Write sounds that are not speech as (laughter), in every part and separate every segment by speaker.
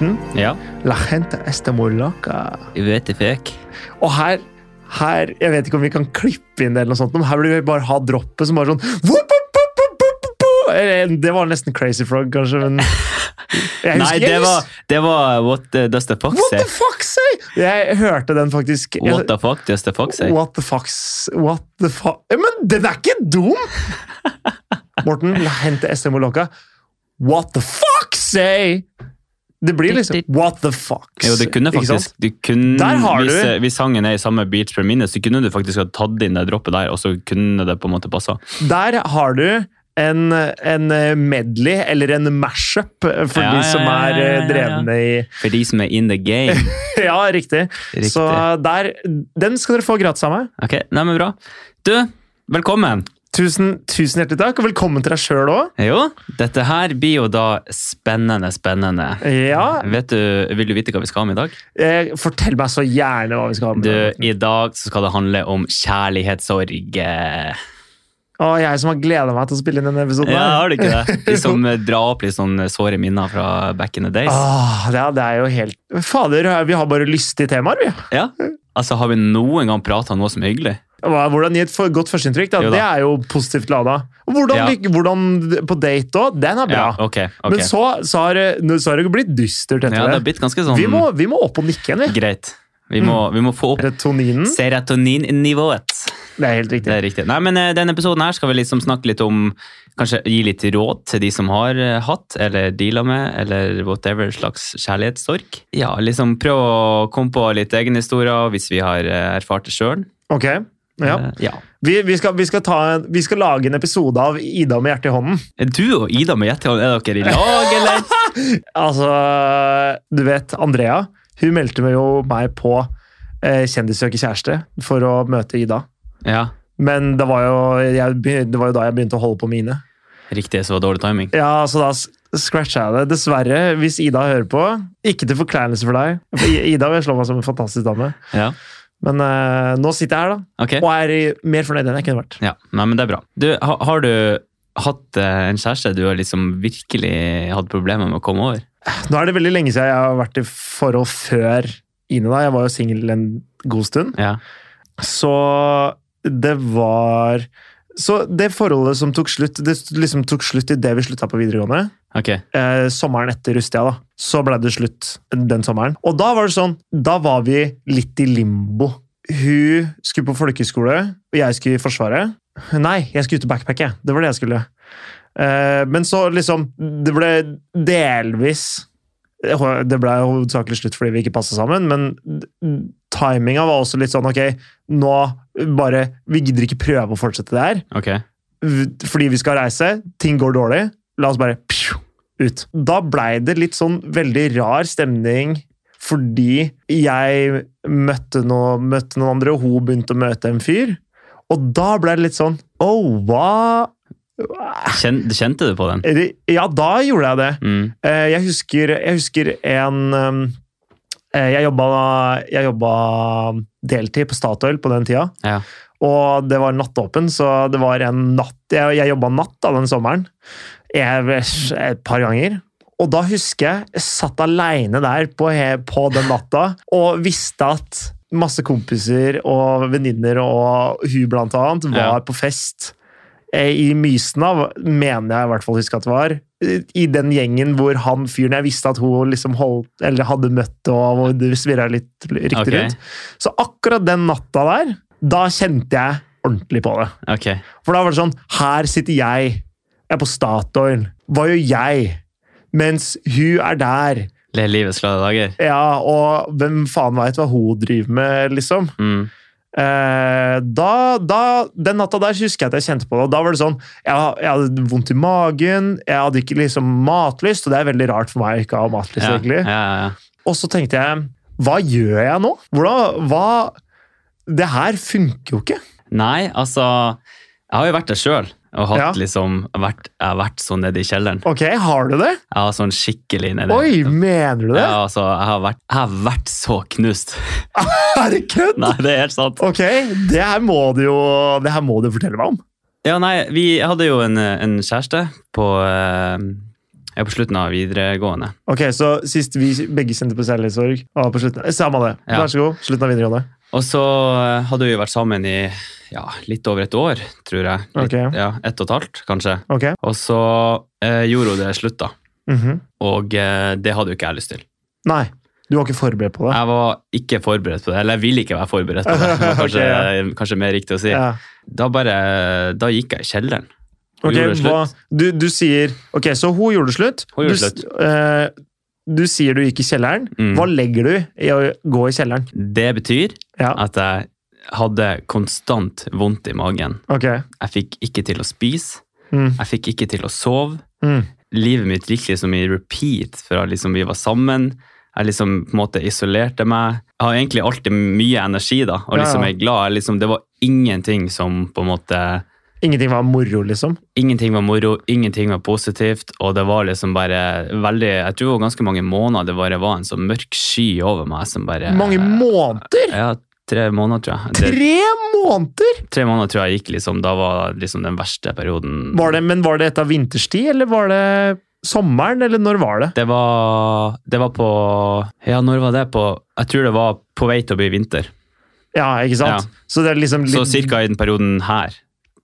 Speaker 1: Mm.
Speaker 2: Ja.
Speaker 1: La gente esta muy loca.
Speaker 2: Vet jeg fikk.
Speaker 1: Og her, her Jeg vet ikke om vi kan klippe inn det, eller noe sånt, men her burde vi bare ha droppet som bare sånn «Wup, wup, wup, wup, wup, wup». Eller, Det var nesten Crazy Frog, kanskje,
Speaker 2: (laughs)
Speaker 1: men jeg
Speaker 2: Nei,
Speaker 1: husker-
Speaker 2: det
Speaker 1: jeg
Speaker 2: var, det var What eh, Does The Fox
Speaker 1: What
Speaker 2: Say.
Speaker 1: the fuck, say? Jeg hørte den faktisk. Jeg-
Speaker 2: What the fuck Does The Fox Say?
Speaker 1: What the fucks What the fuck Men den er ikke dum!
Speaker 2: (laughs)
Speaker 1: Morten, la hente SM og Loka. What the fuck say? Det blir liksom What the fucks.
Speaker 2: Jo, det kunne
Speaker 1: Ikke sant?
Speaker 2: faktisk du kunne,
Speaker 1: Der har
Speaker 2: hvis,
Speaker 1: du!
Speaker 2: eh, hvis sangen er i samme beat per minute, så kunne du faktisk ha tatt inn det droppet der, og så kunne det på en måte passa.
Speaker 1: Der har du en, en medley, eller en mashup, for
Speaker 2: Ja,
Speaker 1: de
Speaker 2: ja,
Speaker 1: som
Speaker 2: ja,
Speaker 1: er
Speaker 2: ja, ja,
Speaker 1: eh,
Speaker 2: ja.
Speaker 1: drevne i (laughs)
Speaker 2: For de som er in the game.
Speaker 1: Ja, riktig.
Speaker 2: Riktig.
Speaker 1: Så der, den skal dere få gratis av meg.
Speaker 2: Ok, nei, men bra. Du, velkommen.
Speaker 1: Tusen, tusen hjertelig takk, og velkommen til deg sjøl òg.
Speaker 2: Jo, dette her blir jo da spennende, spennende.
Speaker 1: Ja,
Speaker 2: Vet du, vil du vite hva vi skal om i dag?
Speaker 1: eh, fortell meg så gjerne hva vi skal ha med.
Speaker 2: Du, I dag så skal det handle om kjærlighetssorg. Ja,
Speaker 1: Å, jeg som har gleda meg til å spille inn denne episoden. her.
Speaker 2: har du ikke
Speaker 1: (laughs)
Speaker 2: det? De som drar opp litt sånn såre minner fra back in the days.
Speaker 1: Åh, det, er, det er jo helt Fader, eh, vi har bare lystige temaer, vi.
Speaker 2: Ja, altså Har vi noen gang prata om noe som er hyggelig?
Speaker 1: Hva- Hvordan gi et for, godt førsteinntrykk? da?
Speaker 2: Jo da.
Speaker 1: Det er jo positivt lada. Og Hvordan,
Speaker 2: Ja.
Speaker 1: lik- hvordan på date òg, den er bra.
Speaker 2: Ja, ok, ok.
Speaker 1: Men så, så, har, det- nå- så har det jo blitt dystert etter
Speaker 2: ja, det har
Speaker 1: det.
Speaker 2: blitt ganske sånn
Speaker 1: Vi, må, vi må opp og nikke igjen, vi.
Speaker 2: Greit. Vi må, vi må få opp
Speaker 1: Retoninen.
Speaker 2: serotoninnivået.
Speaker 1: Det er helt
Speaker 2: Det
Speaker 1: riktig.
Speaker 2: er riktig. Nei, men eh, denne episoden her skal vi liksom snakke litt om Kanskje gi litt råd til de som har eh, hatt, eller deala med, eller whatever slags kjærlighetssorg. Ja, liksom prøv å komme på litt egne historier hvis vi har eh, erfart det sjøl.
Speaker 1: Ok. Ja.
Speaker 2: ja.
Speaker 1: Vi, vi, skal, vi, skal ta en, vi skal lage en episode av Ida med hjertet i hånden.
Speaker 2: Du og Ida med Jetteholm, er dere i lag, eller?
Speaker 1: Altså, du vet, Andrea hun meldte meg jo meg på eh, Kjendis søker kjæreste for å møte Ida.
Speaker 2: (laughs) Ja.
Speaker 1: Men det var, jo, jeg, begy- det var jo da jeg begynte å holde på mine.
Speaker 2: Riktig, så var det dårlig timing.
Speaker 1: Ja, så da s- scratcha jeg det. Dessverre, hvis Ida hører på. Ikke til forkleinelse for deg. For I- Ida vil jeg slå meg som en fantastisk dame.
Speaker 2: Ja.
Speaker 1: Men eh, nå sitter jeg her, da.
Speaker 2: Ok.
Speaker 1: Og er i- mer fornøyd enn jeg kunne vært.
Speaker 2: Ja, Nei, men det er bra. Du, ha, har du hatt eh, en kjæreste du har liksom virkelig hatt problemer med å komme over?
Speaker 1: Nå er det veldig lenge siden jeg har vært i forhold før Ine. da. Jeg var jo singel en god stund.
Speaker 2: Ja.
Speaker 1: Så det var Så det forholdet som tok slutt, det liksom tok slutt idet vi slutta på videregående.
Speaker 2: Ok.
Speaker 1: eh, sommeren etter Rustia, da, så ble det slutt den sommeren. Og da var det sånn, da var vi litt i limbo. Hun skulle på folkeskole, og jeg skulle i Forsvaret. Nei, jeg skulle ut og backpacke. Det var det jeg skulle. Eh, men så liksom Det ble delvis Det ble hovedsakelig slutt fordi vi ikke passa sammen, men timinga var også litt sånn Ok, nå bare Vi gidder ikke prøve å fortsette det her
Speaker 2: ok.
Speaker 1: v- fordi vi skal reise, ting går dårlig, la oss bare pju, ut. Da blei det litt sånn veldig rar stemning, fordi jeg møtte, noe, møtte noen andre, og hun begynte å møte en fyr. Og da blei det litt sånn Oh, hva
Speaker 2: Kjen, kjente du på den?
Speaker 1: Er det- Ja, da gjorde jeg det.
Speaker 2: Mm.
Speaker 1: Eh, Jeg husker, jeg husker en um, eh, jeg jobba, jeg jobba deltid på Statoil på den tida.
Speaker 2: Ja.
Speaker 1: Og det var nattåpen, så det var en natt Jeg, jeg jobba natt da, den sommeren. Jeg, et par ganger. Og da husker jeg jeg satt aleine der på, he- på den natta og visste at masse kompiser og venninner og hun blant annet var
Speaker 2: Ja.
Speaker 1: på fest eh, i Mysna, mener jeg i hvert fall husker at det var. eh, I den gjengen hvor han fyren jeg visste at hun liksom holdt, eller hadde møtt og hvor det svirra litt rykter
Speaker 2: Ok.
Speaker 1: rundt. Så akkurat den natta der, da kjente jeg ordentlig på det.
Speaker 2: Ok.
Speaker 1: For da var det sånn Her sitter jeg. Jeg er på Statoil. Hva gjør jeg? Mens hun er der.
Speaker 2: Le livets glade dager.
Speaker 1: Ja, og hvem faen veit hva hun driver med, liksom.
Speaker 2: Mm.
Speaker 1: Eh, da, da, den natta der husker jeg at jeg kjente på det. Og da var det sånn Jeg, jeg hadde vondt i magen, jeg hadde ikke liksom matlyst, og det er veldig rart for meg å ikke ha matlyst,
Speaker 2: Ja,
Speaker 1: egentlig.
Speaker 2: ja, ja, ja.
Speaker 1: Og så tenkte jeg, hva gjør jeg nå? Hvordan, hva Det her funker jo ikke.
Speaker 2: Nei, altså Jeg har jo vært der sjøl. Og hatt
Speaker 1: Ja.
Speaker 2: liksom, vært, jeg har vært sånn nede i kjelleren.
Speaker 1: Ok, har du det?
Speaker 2: Jeg har sånn skikkelig nede.
Speaker 1: Oi, mener du det?
Speaker 2: Ja, altså, jeg har, vært, jeg har vært så knust.
Speaker 1: (laughs) Er det kødd?
Speaker 2: (laughs) Nei, det er helt sant.
Speaker 1: Ok, det her må du jo Det her må du fortelle meg om.
Speaker 2: Ja, nei, vi hadde jo en, en kjæreste på eh, Jeg er på slutten av videregående.
Speaker 1: Ok, Så sist vi begge kjente på kjærlighetssorg, var på slutten Samme det.
Speaker 2: Ja.
Speaker 1: Vær så god. Slutten av videregående.
Speaker 2: Og så eh, hadde vi vært sammen i ja, litt over et år, tror jeg. Litt,
Speaker 1: Ok.
Speaker 2: Ja, Ett og et halvt, kanskje.
Speaker 1: Ok.
Speaker 2: Og så eh, gjorde hun det slutt, da.
Speaker 1: Mhm.
Speaker 2: Og eh, det hadde jo ikke jeg lyst til.
Speaker 1: Nei, du var ikke forberedt på det.
Speaker 2: Jeg var ikke forberedt på det, eller jeg ville ikke være
Speaker 1: (laughs)
Speaker 2: forberedt på det. det var kanskje, kanskje mer riktig å si.
Speaker 1: Ja.
Speaker 2: Da bare, da gikk jeg i kjelleren. Hun
Speaker 1: Ok,
Speaker 2: gjorde det
Speaker 1: hva,
Speaker 2: slutt.
Speaker 1: du, du sier Ok, så hun gjorde det slutt.
Speaker 2: Hun gjorde
Speaker 1: du, s- eh, du sier du gikk i kjelleren.
Speaker 2: Mm.
Speaker 1: Hva legger du i å gå i kjelleren?
Speaker 2: Det betyr
Speaker 1: Ja,
Speaker 2: at jeg hadde konstant vondt i magen.
Speaker 1: ok.
Speaker 2: Jeg fikk ikke til å spise,
Speaker 1: Mm.
Speaker 2: jeg fikk ikke til å sove.
Speaker 1: Mm.
Speaker 2: Livet mitt gikk liksom i repeat fra liksom vi var sammen. Jeg liksom på en måte isolerte meg. Jeg har egentlig alltid mye energi da, og
Speaker 1: Ja,
Speaker 2: liksom
Speaker 1: ja.
Speaker 2: er glad. Jeg liksom, det var ingenting som på en måte
Speaker 1: Ingenting var moro, liksom.
Speaker 2: Ingenting var moro, ingenting var positivt, og det var liksom bare veldig Jeg tror det var ganske mange måneder det bare var en sånn mørk sky over meg som bare
Speaker 1: Mange måneder!
Speaker 2: Ja, tre måneder, tror jeg. Det,
Speaker 1: Tre måneder!
Speaker 2: tre måneder tror jeg gikk liksom, da var liksom den verste perioden.
Speaker 1: Var det, men var det etter vinterstid, eller var det sommeren, eller når var det?
Speaker 2: Det var, det var på Ja, når var det på Jeg tror det var på vei til å bli vinter.
Speaker 1: Ja, ikke sant? Så det er liksom
Speaker 2: Så cirka i den perioden her.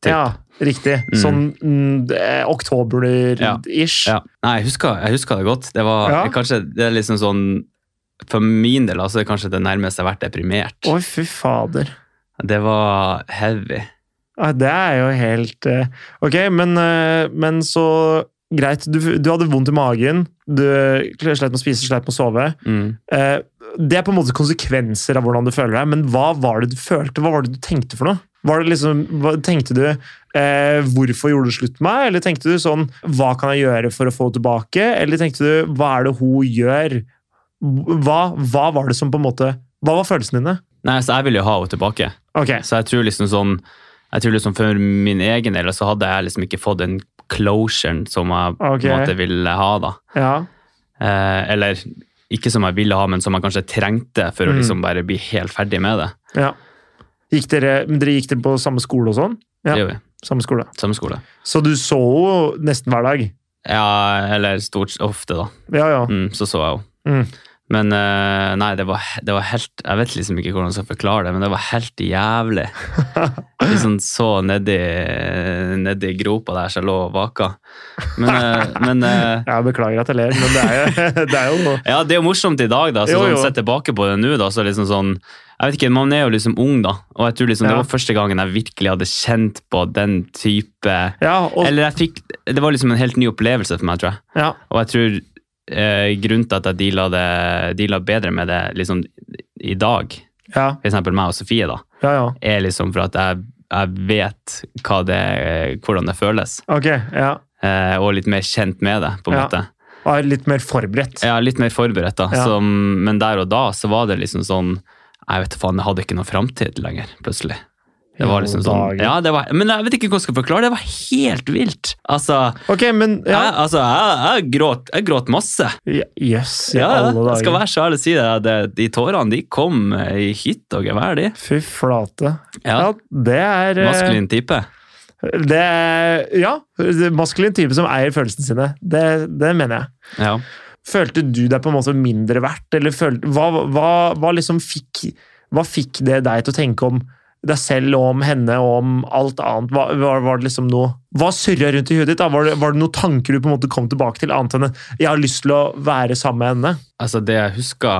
Speaker 2: typ.
Speaker 1: Ja, riktig.
Speaker 2: Mm.
Speaker 1: Sånn mm, det er oktober-ish.
Speaker 2: Ja. Nei, jeg husker, jeg husker det godt. Det var
Speaker 1: Ja.
Speaker 2: kanskje det er liksom sånn For min del altså, det er kanskje det nærmeste jeg har vært deprimert.
Speaker 1: Å, fy fader.
Speaker 2: Det var heavy.
Speaker 1: Ja, Ah, det er jo helt eh, Ok, men, eh, men så Greit, du, du hadde vondt i magen. Du sleit med å spise, sleit med å sove.
Speaker 2: Mm.
Speaker 1: Eh, Det er på en måte konsekvenser av hvordan du føler deg, men hva var det du følte? Hva var det du tenkte for noe? Var det liksom, hva, tenkte du eh, 'hvorfor gjorde du slutt med meg', eller tenkte du sånn 'hva kan jeg gjøre for å få henne tilbake', eller tenkte du 'hva er det hun gjør'? Hva, hva var det som på en måte Hva var følelsene dine?
Speaker 2: Nei, så jeg ville jo ha henne tilbake.
Speaker 1: Ok,
Speaker 2: Så jeg tror liksom sånn jeg tror liksom For min egen del så hadde jeg liksom ikke fått den closuren som jeg
Speaker 1: Ok.
Speaker 2: på en måte ville ha. da.
Speaker 1: ja.
Speaker 2: Eh, eller ikke som jeg ville ha, men som jeg kanskje trengte for å
Speaker 1: Mm.
Speaker 2: liksom bare bli helt ferdig med det.
Speaker 1: ja. Gikk dere, men dere gikk dere på samme skole og sånn? Ja.
Speaker 2: Det gjør vi.
Speaker 1: Samme skole.
Speaker 2: Samme skole.
Speaker 1: Så du så henne nesten hver dag?
Speaker 2: Ja, eller stort ofte, da.
Speaker 1: Ja, ja.
Speaker 2: Mm, så så jeg
Speaker 1: Mm.
Speaker 2: henne. Men eh, nei, det var, det var helt Jeg vet liksom ikke hvordan jeg skal forklare det, men det var helt jævlig.
Speaker 1: (laughs)
Speaker 2: Liksom så nedi, nedi gropa der som jeg lå og vaka. Men, eh, men eh,
Speaker 1: Jeg beklager at jeg ler, men det er jo, (laughs) det er jo
Speaker 2: Ja, det er jo morsomt i dag, da. Så
Speaker 1: Jo, jo.
Speaker 2: sånn, sett tilbake på det nå, da, så er det liksom sånn Jeg vet ikke, man er jo liksom ung, da. Og jeg tror liksom
Speaker 1: Ja.
Speaker 2: det var første gangen jeg virkelig hadde kjent på den type
Speaker 1: Ja, og,
Speaker 2: Eller jeg fikk Det var liksom en helt ny opplevelse for meg, tror jeg.
Speaker 1: ja.
Speaker 2: Og jeg tror eh, grunnen til at jeg deala, det, deala bedre med det liksom i dag,
Speaker 1: ja.
Speaker 2: for eksempel meg og Sofie, da,
Speaker 1: Ja, ja.
Speaker 2: er liksom for at jeg jeg vet hva det, eh, hvordan det føles,
Speaker 1: Ok, ja.
Speaker 2: eh, og litt mer kjent med det. på en
Speaker 1: Ja.
Speaker 2: måte.
Speaker 1: Og er litt mer forberedt.
Speaker 2: Ja, litt mer forberedt, da.
Speaker 1: Ja.
Speaker 2: Som, men der og da så var det liksom sånn Jeg vet faen, jeg hadde ikke noen framtid lenger, plutselig. Det var liksom sånn,
Speaker 1: Dagen.
Speaker 2: ja, det var, Men jeg vet ikke hvordan jeg skal forklare det. Det var helt vilt! Altså,
Speaker 1: Ok, men
Speaker 2: jeg,
Speaker 1: ja.
Speaker 2: altså, jeg, jeg, gråt, jeg gråt masse.
Speaker 1: Ja, Jøss, i
Speaker 2: Ja, ja.
Speaker 1: alle
Speaker 2: jeg skal
Speaker 1: dager.
Speaker 2: være så ærlig og si det. det de tårene de kom eh, i hytt og gevær, de.
Speaker 1: Fy flate.
Speaker 2: Ja,
Speaker 1: Ja, det er eh,
Speaker 2: Maskulin type.
Speaker 1: Det er, ja, det er maskulin type som eier følelsene sine. Det, det mener jeg.
Speaker 2: Ja.
Speaker 1: Følte du deg på en måte mindre verdt, eller følte, hva, hva, hva liksom fikk Hva fikk det deg til å tenke om deg selv og om henne og om alt annet? Hva, var, var det liksom noe Hva surra rundt i hodet ditt? da? Var det, var det noen tanker du på en måte kom tilbake til, annet enn 'jeg har lyst til å være sammen med henne'?
Speaker 2: Altså, det jeg huska,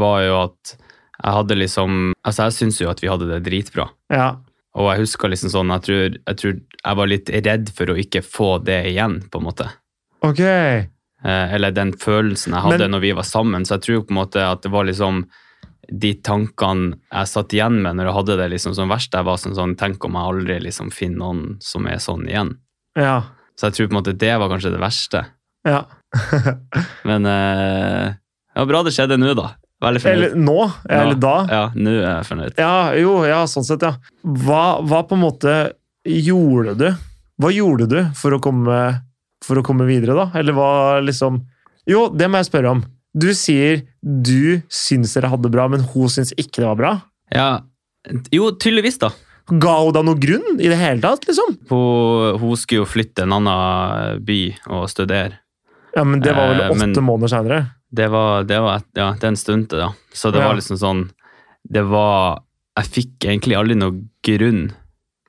Speaker 2: var jo at jeg hadde liksom Altså, jeg syns jo at vi hadde det dritbra.
Speaker 1: Ja,
Speaker 2: Og jeg husker liksom sånn, jeg tror, jeg tror jeg var litt redd for å ikke få det igjen, på en måte.
Speaker 1: ok.
Speaker 2: Eh, Eller den følelsen jeg hadde
Speaker 1: Men-
Speaker 2: når vi var sammen. Så jeg tror på en måte at det var liksom de tankene jeg satt igjen med når jeg hadde det liksom som verst. Jeg var sånn sånn, tenk om jeg aldri liksom finner noen som er sånn igjen.
Speaker 1: Ja.
Speaker 2: Så jeg tror på en måte det var kanskje det verste.
Speaker 1: ja.
Speaker 2: Men eh, det var bra det skjedde nå, da. Veldig fornøyd.
Speaker 1: Eller nå, eller
Speaker 2: Nå.
Speaker 1: da.
Speaker 2: Ja, nå er jeg fornøyd.
Speaker 1: Ja, jo, ja, sånn sett, ja. Hva, hva på en måte gjorde du? Hva gjorde du for å komme, for å komme videre, da? Eller hva liksom Jo, det må jeg spørre om. Du sier du syns dere hadde det bra, men hun syns ikke det var bra.
Speaker 2: Ja, jo, tydeligvis, da.
Speaker 1: Ga hun da noen grunn i det hele tatt, liksom?
Speaker 2: Hun, hun skulle jo flytte en annen by og studere.
Speaker 1: Ja, men det var vel
Speaker 2: Eh,
Speaker 1: åtte
Speaker 2: men-
Speaker 1: måneder seinere.
Speaker 2: Det var, det var et, ja, det er en stund til, da. Så det
Speaker 1: Ja.
Speaker 2: var liksom sånn Det var Jeg fikk egentlig aldri noe grunn.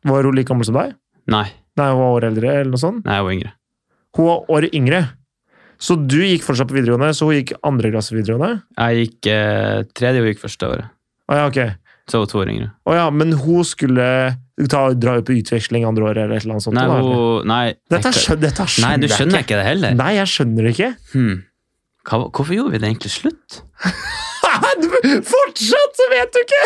Speaker 1: Var hun like gammel som deg?
Speaker 2: Nei,
Speaker 1: Nei, hun var år eldre, eller noe sånt.
Speaker 2: nei jeg var yngre.
Speaker 1: Hun var år yngre. Så du gikk fortsatt på videregående, så hun gikk andre klasse videregående?
Speaker 2: Jeg gikk eh, tredje og gikk første året.
Speaker 1: Å ja, ok.
Speaker 2: Så var hun to år yngre.
Speaker 1: Å ja, men hun skulle ta, dra ut på utveksling andre året, eller et eller annet sånt?
Speaker 2: Nei,
Speaker 1: da, eller?
Speaker 2: hun, nei,
Speaker 1: Dette, skjø- dette
Speaker 2: nei,
Speaker 1: skjønner,
Speaker 2: du skjønner ikke det
Speaker 1: jeg ikke.
Speaker 2: heller.
Speaker 1: Nei, jeg skjønner det ikke. (laughs)
Speaker 2: Hmm. Hva, hvorfor gjorde vi det egentlig slutt?
Speaker 1: Du- Fortsatt så vet du ikke!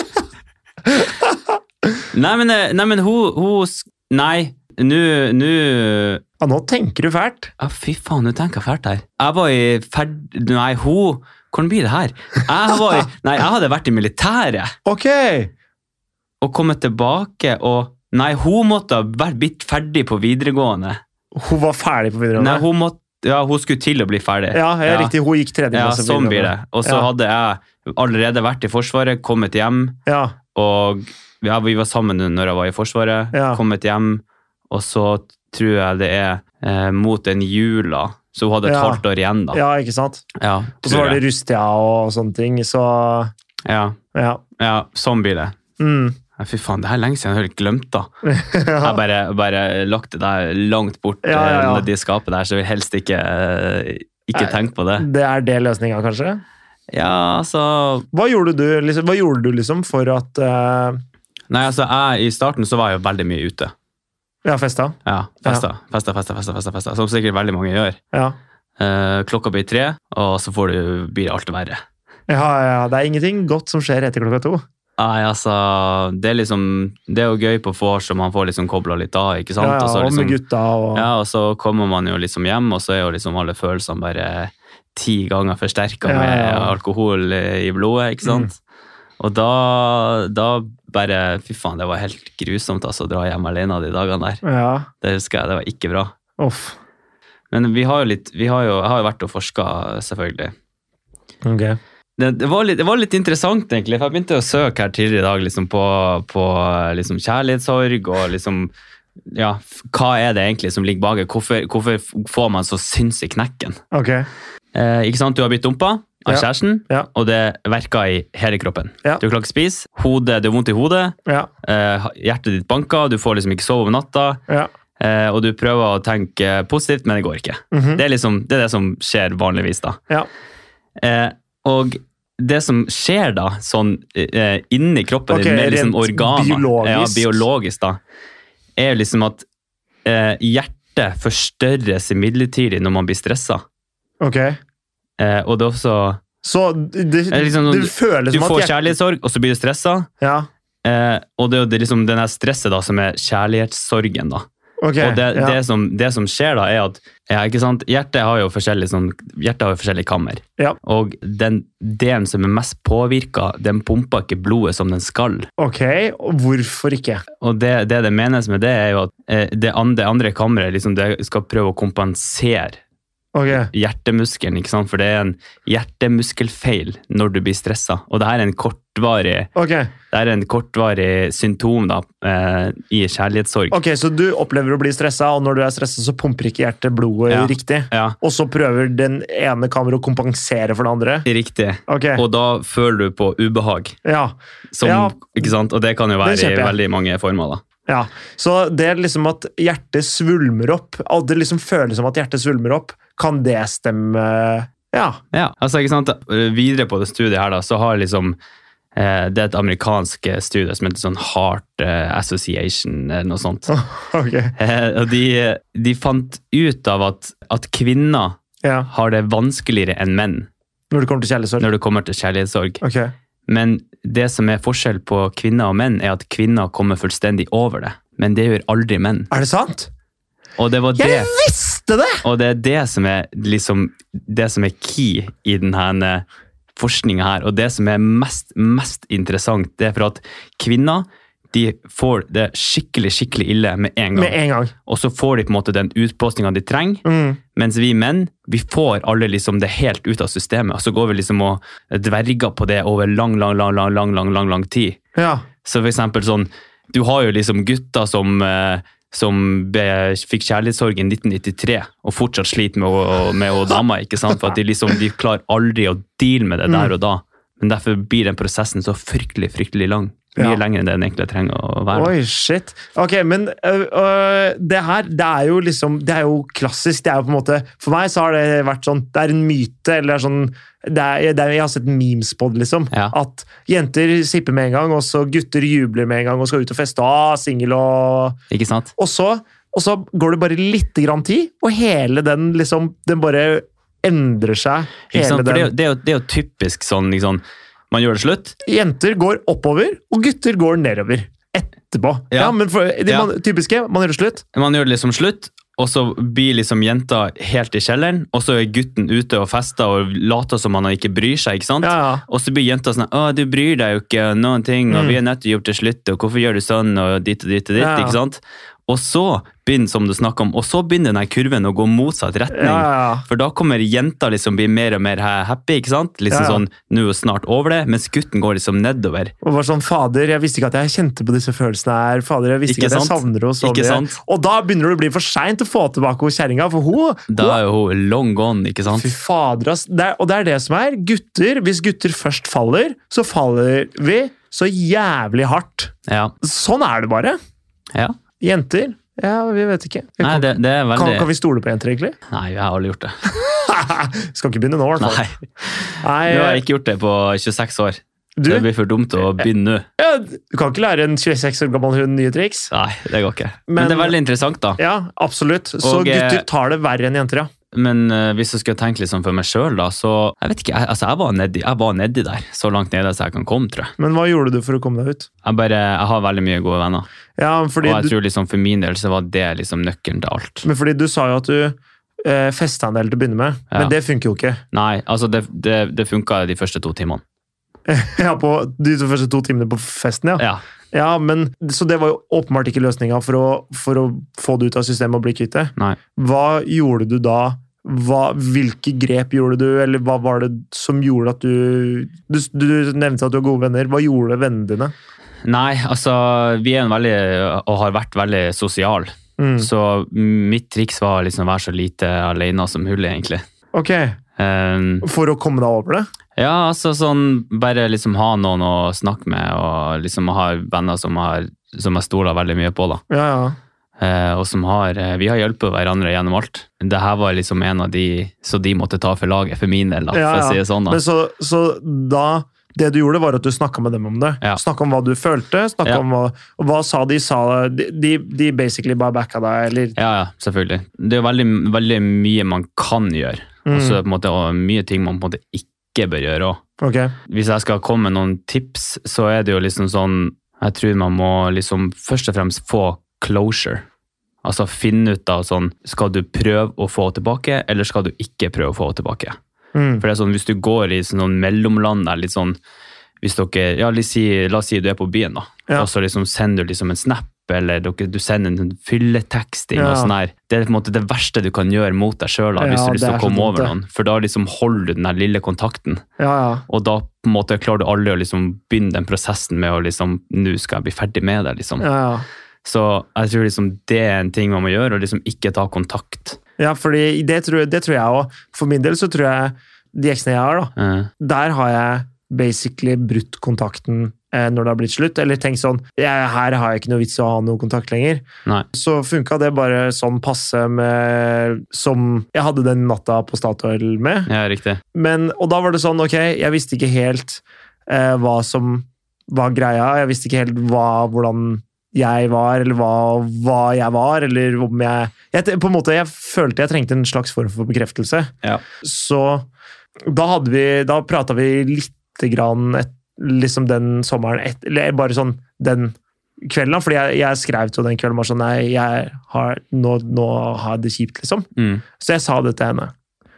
Speaker 2: Nei, men, eh, nei, men hun, hun sk- Nei, nå nå-
Speaker 1: Ja, nå tenker du fælt.
Speaker 2: Ja, fy faen, nå tenker jeg fælt her. Jeg var i ferd... Nei, hun Hvordan blir det her? Jeg var i
Speaker 1: (laughs)
Speaker 2: Nei, jeg hadde vært i militæret.
Speaker 1: Ok!
Speaker 2: og komme tilbake og Nei, hun måtte ha vært blitt ferdig på videregående.
Speaker 1: Hun var ferdig på videregående.
Speaker 2: Nei, hun, måtte, ja, hun skulle til å bli ferdig.
Speaker 1: Ja, jeg er
Speaker 2: Ja.
Speaker 1: riktig. Hun gikk tredje
Speaker 2: Ja,
Speaker 1: klasse. på
Speaker 2: sånn blir det.
Speaker 1: videregående.
Speaker 2: Og så
Speaker 1: Ja.
Speaker 2: hadde jeg allerede vært i Forsvaret, kommet hjem,
Speaker 1: Ja,
Speaker 2: og ja, vi var sammen når jeg var i Forsvaret.
Speaker 1: Ja.
Speaker 2: Kommet hjem, og så tror jeg det er eh, mot den jula, så hun hadde et
Speaker 1: Ja.
Speaker 2: halvt år igjen, da.
Speaker 1: ja, ikke sant?
Speaker 2: Ja,
Speaker 1: Og så
Speaker 2: tror
Speaker 1: var det
Speaker 2: jeg.
Speaker 1: Rustia og sånne ting, så
Speaker 2: ja,
Speaker 1: ja.
Speaker 2: ja, sånn blir det.
Speaker 1: Mm.
Speaker 2: Ja, Fy faen, det her er lenge siden jeg har helt glemt,
Speaker 1: (laughs)
Speaker 2: da.
Speaker 1: ja.
Speaker 2: Jeg bare, bare lagt det der langt bort
Speaker 1: Ja, ja, ja.
Speaker 2: eh, under de skapet der, så jeg vil helst ikke, eh, ikke
Speaker 1: Nei.
Speaker 2: tenke på det.
Speaker 1: Det er det løsninga, kanskje?
Speaker 2: Ja, altså
Speaker 1: Hva gjorde du liksom, hva gjorde du, liksom for at uh,
Speaker 2: Nei, altså, jeg, i starten så var jeg jo veldig mye ute.
Speaker 1: Ja, festa?
Speaker 2: Ja, festa, festa, festa, festa, festa, festa, som sikkert veldig mange gjør.
Speaker 1: Ja.
Speaker 2: Eh, klokka blir tre, og så får du, blir det alt verre.
Speaker 1: Ja, ja, det er ingenting godt som skjer etter klokka to.
Speaker 2: Nei, altså, det er liksom Det er jo gøy på vors, og man får liksom kobla litt av, ikke sant?
Speaker 1: Ja, ja,
Speaker 2: og så
Speaker 1: og med
Speaker 2: liksom,
Speaker 1: gutta og
Speaker 2: ja, og så kommer man jo liksom hjem, og så er jo liksom alle følelsene bare ti ganger forsterka
Speaker 1: Ja, ja, ja. Mm.
Speaker 2: med alkohol i blodet, ikke sant? Og da, da bare Fy faen, det var helt grusomt altså, å dra hjem alene de dagene der.
Speaker 1: ja.
Speaker 2: Det husker jeg, det var ikke bra.
Speaker 1: Uff.
Speaker 2: Men vi har jo litt vi har jo, Jeg har jo vært og forska, selvfølgelig.
Speaker 1: Ok.
Speaker 2: Det, det, var litt, det var litt interessant, egentlig. for Jeg begynte å søke her tidligere i dag liksom på, på liksom kjærlighetssorg og liksom ja, f- Hva er det egentlig som ligger bak? Hvorfor, hvorfor f- får man så sinnssyk knekken?
Speaker 1: Ok.
Speaker 2: Eh, ikke sant, Du har blitt dumpa av
Speaker 1: Ja.
Speaker 2: kjæresten,
Speaker 1: Ja.
Speaker 2: og det verker i hele kroppen.
Speaker 1: Ja.
Speaker 2: Du klarer ikke å spise, hodet, det er vondt i hodet,
Speaker 1: Ja.
Speaker 2: eh, hjertet ditt banker, du får liksom ikke sove om natta,
Speaker 1: ja.
Speaker 2: eh, og du prøver å tenke positivt, men det går ikke.
Speaker 1: Mhm.
Speaker 2: Det er liksom, det er det som skjer vanligvis da.
Speaker 1: ja.
Speaker 2: Eh, og det som skjer da, sånn eh, inni kroppen
Speaker 1: Ok,
Speaker 2: din, med liksom
Speaker 1: rent
Speaker 2: organer,
Speaker 1: biologisk.
Speaker 2: Ja, biologisk da, er jo liksom at eh, hjertet forstørres midlertidig når man blir stressa.
Speaker 1: Ok.
Speaker 2: Eh, og det er også,
Speaker 1: Så det, det,
Speaker 2: er liksom sånn-
Speaker 1: føles
Speaker 2: du
Speaker 1: som at
Speaker 2: får
Speaker 1: jeg-
Speaker 2: kjærlighetssorg, og så blir du stressa.
Speaker 1: Ja.
Speaker 2: Eh, og det er jo det liksom denne stresset da, som er kjærlighetssorgen. da.
Speaker 1: Ok.
Speaker 2: Og det,
Speaker 1: ja.
Speaker 2: det, som, det som skjer da, er at ja, ikke sant? hjertet har jo forskjellig, sånn, hjertet har jo forskjellig kammer.
Speaker 1: Ja.
Speaker 2: Og den delen som er mest påvirka, den pumper ikke blodet som den skal.
Speaker 1: Ok, og hvorfor ikke?
Speaker 2: Og det det, det menes med det, er jo at eh, det andre, det andre kammeret liksom, det skal prøve å kompensere
Speaker 1: Ok.
Speaker 2: hjertemuskelen, ikke sant? for det er en hjertemuskelfeil når du blir stressa. Og det her er en kortvarig,
Speaker 1: Ok,
Speaker 2: det her er en kortvarig symptom da, eh, i kjærlighetssorg.
Speaker 1: ok, så du opplever å bli stressa, og når du er stressa, så pumper ikke hjertet blodet
Speaker 2: Ja.
Speaker 1: riktig.
Speaker 2: Ja,
Speaker 1: Og så prøver den ene kammeret å kompensere for det andre.
Speaker 2: riktig.
Speaker 1: Ok,
Speaker 2: Og da føler du på ubehag.
Speaker 1: ja.
Speaker 2: Som,
Speaker 1: Ja.
Speaker 2: ikke sant? Og det kan jo
Speaker 1: Det
Speaker 2: være i
Speaker 1: kjøper jeg.
Speaker 2: veldig mange former. da.
Speaker 1: ja. Så det er liksom at hjertet svulmer opp, at det liksom føles som at hjertet svulmer opp, kan det stemme? Ja.
Speaker 2: Ja, altså ikke sant? Videre på det studiet her da, så har liksom eh, det er et amerikansk eh, studie som heter sånn Heart eh, Association eller noe sånt.
Speaker 1: Ok,
Speaker 2: Eh, og de, de fant ut av at, at kvinner
Speaker 1: ja.
Speaker 2: har det vanskeligere enn menn
Speaker 1: Når det kommer til kjærlighetssorg.
Speaker 2: når det kommer til kjærlighetssorg.
Speaker 1: Ok,
Speaker 2: Men det som er forskjell på kvinner og menn, er at kvinner kommer fullstendig over det. Men det gjør aldri menn.
Speaker 1: er det sant?
Speaker 2: Og det var det
Speaker 1: Jeg visste det!
Speaker 2: Og det er det som er liksom Det som er key i denne forskninga her, og det som er mest, mest interessant, det er for at kvinner de får det skikkelig skikkelig ille med en
Speaker 1: Med
Speaker 2: gang.
Speaker 1: en gang.
Speaker 2: Og så får de på en måte den utpostinga de trenger,
Speaker 1: Mm.
Speaker 2: mens vi menn vi får alle liksom det helt ut av systemet. Og så går vi liksom og dverger på det over lang, lang, lang, lang, lang, lang, lang, lang tid.
Speaker 1: Ja,
Speaker 2: Så for eksempel sånn, du har jo liksom gutter som, eh, som ble, fikk kjærlighetssorg i 1993 og fortsatt sliter med, å- med å dama, ikke sant? For at de liksom, de klarer aldri å deale med det
Speaker 1: Mm.
Speaker 2: der og da. Men derfor blir den prosessen så fryktelig, fryktelig lang. Mye
Speaker 1: Ja.
Speaker 2: lenger enn det den egentlig trenger å være.
Speaker 1: Oi, shit. Ok, men øh, øh, det her, det er jo liksom Det er jo klassisk. Det er jo på en måte For meg så har det vært sånn Det er en myte, eller det er sånn det er, det er, Jeg har sett memes på det, liksom.
Speaker 2: Ja.
Speaker 1: At jenter sipper med en gang, og så gutter jubler med en gang og skal ut og feste. Ah, single og
Speaker 2: Ikke sant?
Speaker 1: og så, og så går det bare litt grann tid, og hele den liksom Den bare endrer seg.
Speaker 2: Ikke
Speaker 1: Hele
Speaker 2: sant? For det, er
Speaker 1: den.
Speaker 2: jo- det, er jo, det er jo typisk sånn, ikke sant? man gjør det slutt,
Speaker 1: Jenter går oppover, og gutter går nedover. Etterpå. Ja,
Speaker 2: Ja.
Speaker 1: men for, det
Speaker 2: Ja.
Speaker 1: man, typiske, man gjør det slutt.
Speaker 2: man gjør det liksom slutt, og så blir liksom jenta helt i kjelleren, og så er gutten ute og fester og later som han ikke bryr seg, ikke sant?
Speaker 1: Ja, ja.
Speaker 2: Og så blir jenta sånn Å, du bryr deg jo ikke om noen ting, og
Speaker 1: Mm.
Speaker 2: vi er nødt til å gjøre til slutt, og hvorfor gjør du sånn, og ditt og ditt og ditt,
Speaker 1: Ja, ja.
Speaker 2: ikke sant? Og så begynner, som du snakker om, og så begynner denne kurven å gå motsatt retning.
Speaker 1: Ja, ja, ja.
Speaker 2: For da kommer jenta liksom bli mer og mer ha- happy, ikke sant? Liksom
Speaker 1: Ja, ja.
Speaker 2: sånn, nå er hun snart over det, mens gutten går liksom nedover.
Speaker 1: Og var sånn, Fader, jeg visste ikke at jeg kjente på disse følelsene her. Fader, jeg visste
Speaker 2: Ikke
Speaker 1: ikke, at jeg
Speaker 2: sant?
Speaker 1: savner henne så
Speaker 2: Ikke
Speaker 1: mye.
Speaker 2: sant?
Speaker 1: Og da begynner det å bli for seint å få tilbake henne kjerringa, for hun,
Speaker 2: Da er jo hun long gone, ikke sant?
Speaker 1: Fy fader, ass. Det er, og det er det som er. Gutter, hvis gutter først faller, så faller vi så jævlig hardt.
Speaker 2: Ja,
Speaker 1: Sånn er det bare.
Speaker 2: ja.
Speaker 1: Jenter? Ja, vi vet ikke. Vi
Speaker 2: Nei,
Speaker 1: kan,
Speaker 2: det, det er
Speaker 1: kan,
Speaker 2: veldig...
Speaker 1: kan vi stole på jenter, egentlig? (laughs)
Speaker 2: Nei, jeg har aldri gjort det.
Speaker 1: Skal ikke begynne nå, i hvert fall.
Speaker 2: Nei,
Speaker 1: Nei,
Speaker 2: nå har jeg ikke gjort det på 26 år.
Speaker 1: du,
Speaker 2: Det blir for dumt å begynne nå.
Speaker 1: ja, du kan ikke lære en 26 år gammel hund nye triks.
Speaker 2: Nei, det går ikke.
Speaker 1: Men-
Speaker 2: Men det er veldig interessant da.
Speaker 1: Ja, absolutt. Så
Speaker 2: Og, eh,
Speaker 1: gutter tar det verre enn jenter, ja.
Speaker 2: Men eh, hvis jeg skulle tenke liksom for meg sjøl, da, så Jeg vet ikke, jeg, altså, jeg var nedi jeg var nedi der. Så langt nede som jeg kan komme, tror jeg.
Speaker 1: Men hva gjorde du for å komme deg ut?
Speaker 2: Jeg bare, jeg har veldig mye gode venner.
Speaker 1: Ja, fordi
Speaker 2: og jeg
Speaker 1: du,
Speaker 2: tror liksom for min del så var det liksom nøkkelen til alt.
Speaker 1: men fordi du sa jo at du eh, festa en del til å begynne med,
Speaker 2: Ja.
Speaker 1: men det funker jo ikke. (laughs)
Speaker 2: Nei, altså det, det, det funka de første to timene.
Speaker 1: Ja, på De to første to timene på festen, ja.
Speaker 2: Ja.
Speaker 1: ja men, så det var jo åpenbart ikke løsninga for, å- for å få det ut av systemet og bli kvitt det.
Speaker 2: Nei.
Speaker 1: Hva gjorde du da? Hva, hvilke grep gjorde du, eller hva var det som gjorde at du Du, du nevnte at du har gode venner. Hva gjorde vennene dine?
Speaker 2: Nei, altså vi er en veldig, og har vært veldig sosial.
Speaker 1: Mm.
Speaker 2: Så mitt triks var liksom å være så lite alene som mulig, egentlig.
Speaker 1: Ok,
Speaker 2: Um,
Speaker 1: For å komme deg over det?
Speaker 2: Ja, altså sånn bare liksom ha noen å snakke med, og liksom ha venner som, har, som jeg stoler veldig mye på, da.
Speaker 1: Ja, ja.
Speaker 2: Eh, og som har eh, Vi har hjulpet hverandre gjennom alt. Det her var liksom en av de så de måtte ta for laget, for min del, da,
Speaker 1: Ja,
Speaker 2: for
Speaker 1: ja.
Speaker 2: å si det sånn. da.
Speaker 1: Men så, så da Det du gjorde, var at du snakka med dem om det.
Speaker 2: Ja.
Speaker 1: Snakka om hva du følte. snakket
Speaker 2: Ja.
Speaker 1: om hva, og hva sa de? Sa, de, de, de basically bare backa deg, eller
Speaker 2: Ja, ja, selvfølgelig. Det er jo veldig, veldig mye man kan gjøre,
Speaker 1: Mm.
Speaker 2: og så på en måte og mye ting man på en måte ikke bør gjøre òg.
Speaker 1: Mm, Ok.
Speaker 2: hvis jeg skal komme med noen tips, så er det jo liksom sånn Jeg tror man må liksom først og fremst få closure. Altså finne ut av sånn Skal du prøve å få tilbake, eller skal du ikke prøve å få tilbake?
Speaker 1: Mm.
Speaker 2: For det er sånn, hvis du går i sånn noen mellomland der, litt sånn hvis dere, ja, la oss si, la oss si du er på byen, da,
Speaker 1: Ja.
Speaker 2: og så liksom sender du liksom en snap, eller dere, du sender en sånn fylleteksting
Speaker 1: Ja.
Speaker 2: og sånn her. Det er på en måte det verste du kan gjøre mot deg sjøl hvis
Speaker 1: Ja,
Speaker 2: du har
Speaker 1: det
Speaker 2: lyst til
Speaker 1: er
Speaker 2: å
Speaker 1: så
Speaker 2: komme
Speaker 1: dumt,
Speaker 2: over
Speaker 1: det.
Speaker 2: noen. For da liksom holder du den der lille kontakten.
Speaker 1: Ja, ja.
Speaker 2: Og da på en måte klarer du aldri å liksom begynne den prosessen med å liksom, nå skal jeg bli ferdig med det. liksom.
Speaker 1: Ja, ja.
Speaker 2: Så jeg tror liksom det er en ting man må gjøre, og liksom ikke ta kontakt.
Speaker 1: ja fordi det tror, det tror jeg òg. For min del så tror jeg de eksene jeg har, da,
Speaker 2: Eh,
Speaker 1: der har jeg basically brutt kontakten eh, når det har blitt slutt. Eller tenkt sånn jeg, Her har jeg ikke noe vits i å ha noe kontakt lenger.
Speaker 2: nei.
Speaker 1: Så funka det bare sånn passe med Som jeg hadde den natta på Statoil med.
Speaker 2: Ja, riktig.
Speaker 1: Men, og da var det sånn, ok, jeg visste ikke helt eh, hva som var greia. Jeg visste ikke helt hva, hvordan jeg var, eller hva, hva jeg var, eller om jeg, jeg På en måte, jeg følte jeg trengte en slags form for bekreftelse.
Speaker 2: Ja.
Speaker 1: Så da hadde vi Da prata vi lite grann et, liksom den sommeren et, Eller bare sånn den kvelden, da. Fordi jeg, jeg skrev til henne den kvelden bare sånn Nei, jeg har, nå, nå har jeg det kjipt, liksom.
Speaker 2: Mm.
Speaker 1: Så jeg sa det til henne.